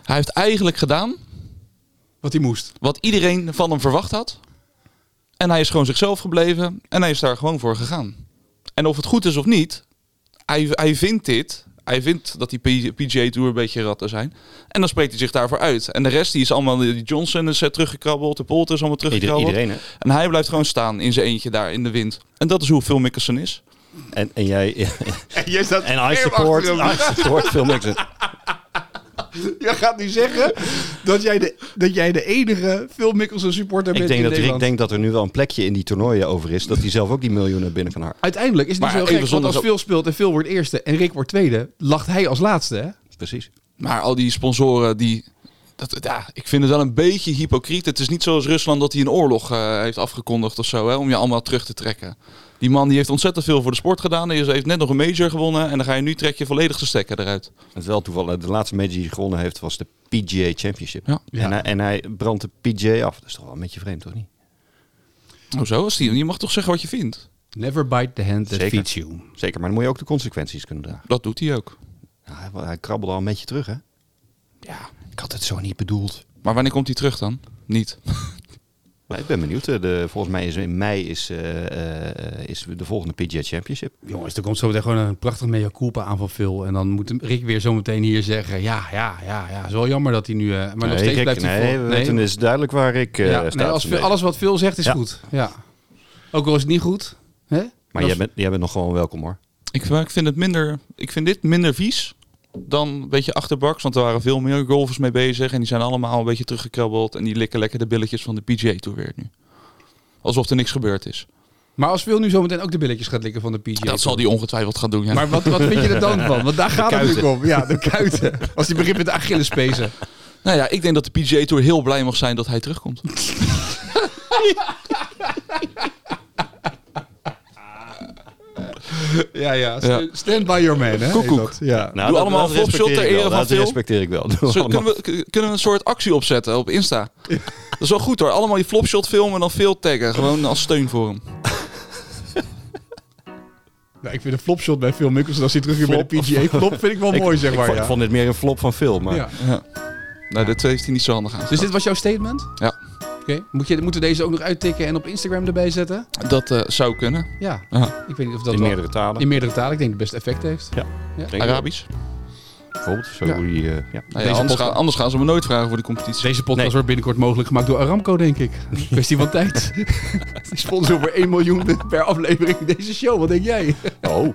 Speaker 3: Hij heeft eigenlijk gedaan
Speaker 1: Wat hij moest.
Speaker 3: wat iedereen van hem verwacht had. En hij is gewoon zichzelf gebleven en hij is daar gewoon voor gegaan. En of het goed is of niet, hij, hij vindt dit. Hij vindt dat die P- PGA Tour een beetje ratten zijn. En dan spreekt hij zich daarvoor uit. En de rest die is allemaal, die Johnson is eh, teruggekrabbeld, de Polter is allemaal
Speaker 2: Ieder-
Speaker 3: teruggekrabbeld.
Speaker 2: iedereen, hè?
Speaker 3: En hij blijft gewoon staan in zijn eentje daar in de wind. En dat is hoe Phil Mickelson is.
Speaker 2: En, en jij...
Speaker 1: [laughs]
Speaker 2: [laughs]
Speaker 1: En jij staat
Speaker 2: en I support, I support Phil Mickelson.
Speaker 1: Jij gaat nu zeggen dat jij de, dat jij de enige Phil Mickelson supporter
Speaker 2: Ik
Speaker 1: bent in
Speaker 2: denk dat Rick
Speaker 1: Nederland.
Speaker 2: denkt dat er nu wel een plekje in die toernooien over is. Dat hij zelf ook die miljoenen binnen kan harken.
Speaker 1: Uiteindelijk is het
Speaker 3: Maar
Speaker 1: niet zo
Speaker 3: even
Speaker 1: gek, want
Speaker 3: zonder
Speaker 1: als
Speaker 3: zo-
Speaker 1: Phil speelt en Phil wordt eerste en Rick wordt tweede, lacht hij als laatste, hè?
Speaker 2: Precies.
Speaker 3: Maar al die sponsoren, die, dat, ja, ik vind het wel een beetje hypocriet. Het is niet zoals Rusland dat hij een oorlog eh, heeft afgekondigd of zo, hè, om je allemaal terug te trekken. Die man die heeft ontzettend veel voor de sport gedaan. Hij is- heeft net nog een major gewonnen en dan ga je nu trek je volledig de stekker eruit.
Speaker 2: Het is wel toevallig. De laatste match die hij gewonnen heeft was de PGA Championship.
Speaker 3: Ja.
Speaker 2: En, hij, en hij brandt de PGA af. Dat is toch wel een beetje vreemd, toch niet?
Speaker 3: Hoezo? Als die, je mag toch zeggen wat je vindt?
Speaker 1: Never bite the hand that
Speaker 2: Zeker.
Speaker 1: feeds you.
Speaker 2: Zeker, maar dan moet je ook de consequenties kunnen dragen.
Speaker 3: Dat doet hij ook.
Speaker 2: Nou, hij, hij krabbelde al een beetje terug, hè?
Speaker 3: Ja.
Speaker 2: Ik had het zo niet bedoeld.
Speaker 3: Maar wanneer komt hij terug dan? Niet.
Speaker 2: Maar ik ben benieuwd. Eh, De, volgens mij is in mei is, eh, eh, is de volgende PGA Championship.
Speaker 1: Jongens, er komt zo meteen gewoon een prachtig mea culpa aan van Phil. En dan moet Rick weer zo meteen hier zeggen, ja, ja, ja, ja. Het is wel jammer dat hij nu... eh, maar nog steeds
Speaker 2: Rick,
Speaker 1: blijft hij
Speaker 2: nee,
Speaker 1: voor-
Speaker 2: we weten, het is duidelijk waar ik eh
Speaker 1: ja,
Speaker 2: sta.
Speaker 1: nee, als
Speaker 2: op
Speaker 1: Phil-
Speaker 2: deze.
Speaker 1: alles wat Phil zegt is
Speaker 2: Ja.
Speaker 1: goed. Ja. Ook al is het niet goed. Hè?
Speaker 2: Maar jij bent, jij bent nog gewoon welkom, hoor.
Speaker 3: Ik, maar ik, vind het minder, ik vind dit minder vies dan een beetje achterbaks. Want er waren veel meer golfers mee bezig. En die zijn allemaal een beetje teruggekrabbeld. En die likken lekker de billetjes van de PGA Tour weer nu. Alsof er niks gebeurd is.
Speaker 1: Maar als Phil nu zometeen ook de billetjes gaat likken van de PGA.
Speaker 3: dat zal die ongetwijfeld gaan doen. Ja.
Speaker 1: Maar wat, wat vind je er dan van? Want daar gaat het
Speaker 2: kuiten.
Speaker 1: natuurlijk om. Ja, de kuiten. Als die begint met de Achillespezen.
Speaker 3: Nou ja, ik denk dat de PGA Tour heel blij mag zijn [laughs] dat hij terugkomt.
Speaker 1: Ja, ja.
Speaker 3: Ja.
Speaker 1: Stand by your man, hè? heet
Speaker 3: Koekoek.
Speaker 1: dat. Ja.
Speaker 2: Nou,
Speaker 3: Doe
Speaker 2: dat-
Speaker 3: allemaal
Speaker 2: dat
Speaker 3: een volksshot
Speaker 2: respecteer
Speaker 3: ter
Speaker 2: ik wel.
Speaker 3: ere van
Speaker 2: Dat
Speaker 3: Phil.
Speaker 2: respecteer ik wel. Doe
Speaker 3: Zo,
Speaker 2: allemaal-
Speaker 3: kunnen, we, kunnen we een soort actie opzetten op Insta? Dat is wel goed hoor. Allemaal je flopshot filmen en dan veel taggen. Gewoon als steun voor hem.
Speaker 1: Nou, ik vind een flopshot bij Phil Mickelson als hij terug weer bij de PGA flop, vind ik wel mooi, zeg
Speaker 2: [laughs] ik
Speaker 1: maar.
Speaker 2: vond,
Speaker 1: Ja.
Speaker 2: vond eh, dit meer een flop van Phil, maar...
Speaker 1: Ja.
Speaker 3: Ja. Nou, dit heeft hij niet zo handig aan.
Speaker 1: Dus dit was jouw statement?
Speaker 3: Ja.
Speaker 1: Oké. Moet je, moeten we deze ook nog uittikken en op Instagram erbij zetten?
Speaker 3: Dat eh, zou kunnen.
Speaker 1: Ja.
Speaker 3: Ja.
Speaker 1: Ik weet niet of dat
Speaker 2: in
Speaker 1: wel-
Speaker 2: meerdere talen.
Speaker 1: in meerdere talen, ik denk dat het best effect heeft.
Speaker 2: Denk ik
Speaker 3: Arabisch.
Speaker 2: wel. Bijvoorbeeld, zo
Speaker 1: Ja. Oh.
Speaker 2: hoe die... eh, ja.
Speaker 3: Nou ja,
Speaker 1: Deze
Speaker 3: anders,
Speaker 1: podcast-
Speaker 3: gaan, anders gaan ze me nooit vragen voor de competitie.
Speaker 1: Deze podcast
Speaker 2: Nee.
Speaker 1: wordt binnenkort mogelijk gemaakt door Aramco, denk [laughs] ik. Kwestie van tijd. [laughs] Die sponsor voor 1 miljoen per aflevering deze show. Wat denk jij?
Speaker 2: Oh, in
Speaker 3: Nou, in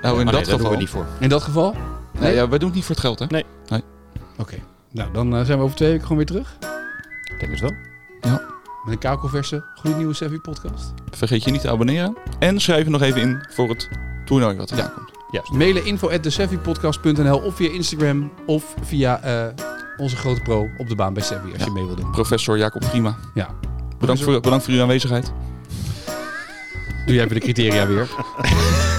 Speaker 3: dat
Speaker 2: daar Oh, doen
Speaker 3: geval.
Speaker 2: we niet voor.
Speaker 1: In dat geval?
Speaker 3: Nee, ja, wij doen het niet voor het geld, hè?
Speaker 2: Nee.
Speaker 1: Oké. Nou, dan eh, zijn we over twee weken gewoon weer terug.
Speaker 2: Ik Denk het wel.
Speaker 1: Met een kakelverse, gloednieuwe Savvy podcast.
Speaker 3: Vergeet je niet te abonneren. En schrijf je nog even in voor het toernooi wat eraan komt.
Speaker 2: Juist.
Speaker 1: Mailen info at thesavvypodcast.nl of via Instagram of via eh, onze grote pro op de baan bij Savvy als je mee wil doen.
Speaker 3: Professor Jacob Prima.
Speaker 1: Ja.
Speaker 3: Bedankt voor, bedankt voor uw aanwezigheid.
Speaker 1: Doe jij even de criteria weer.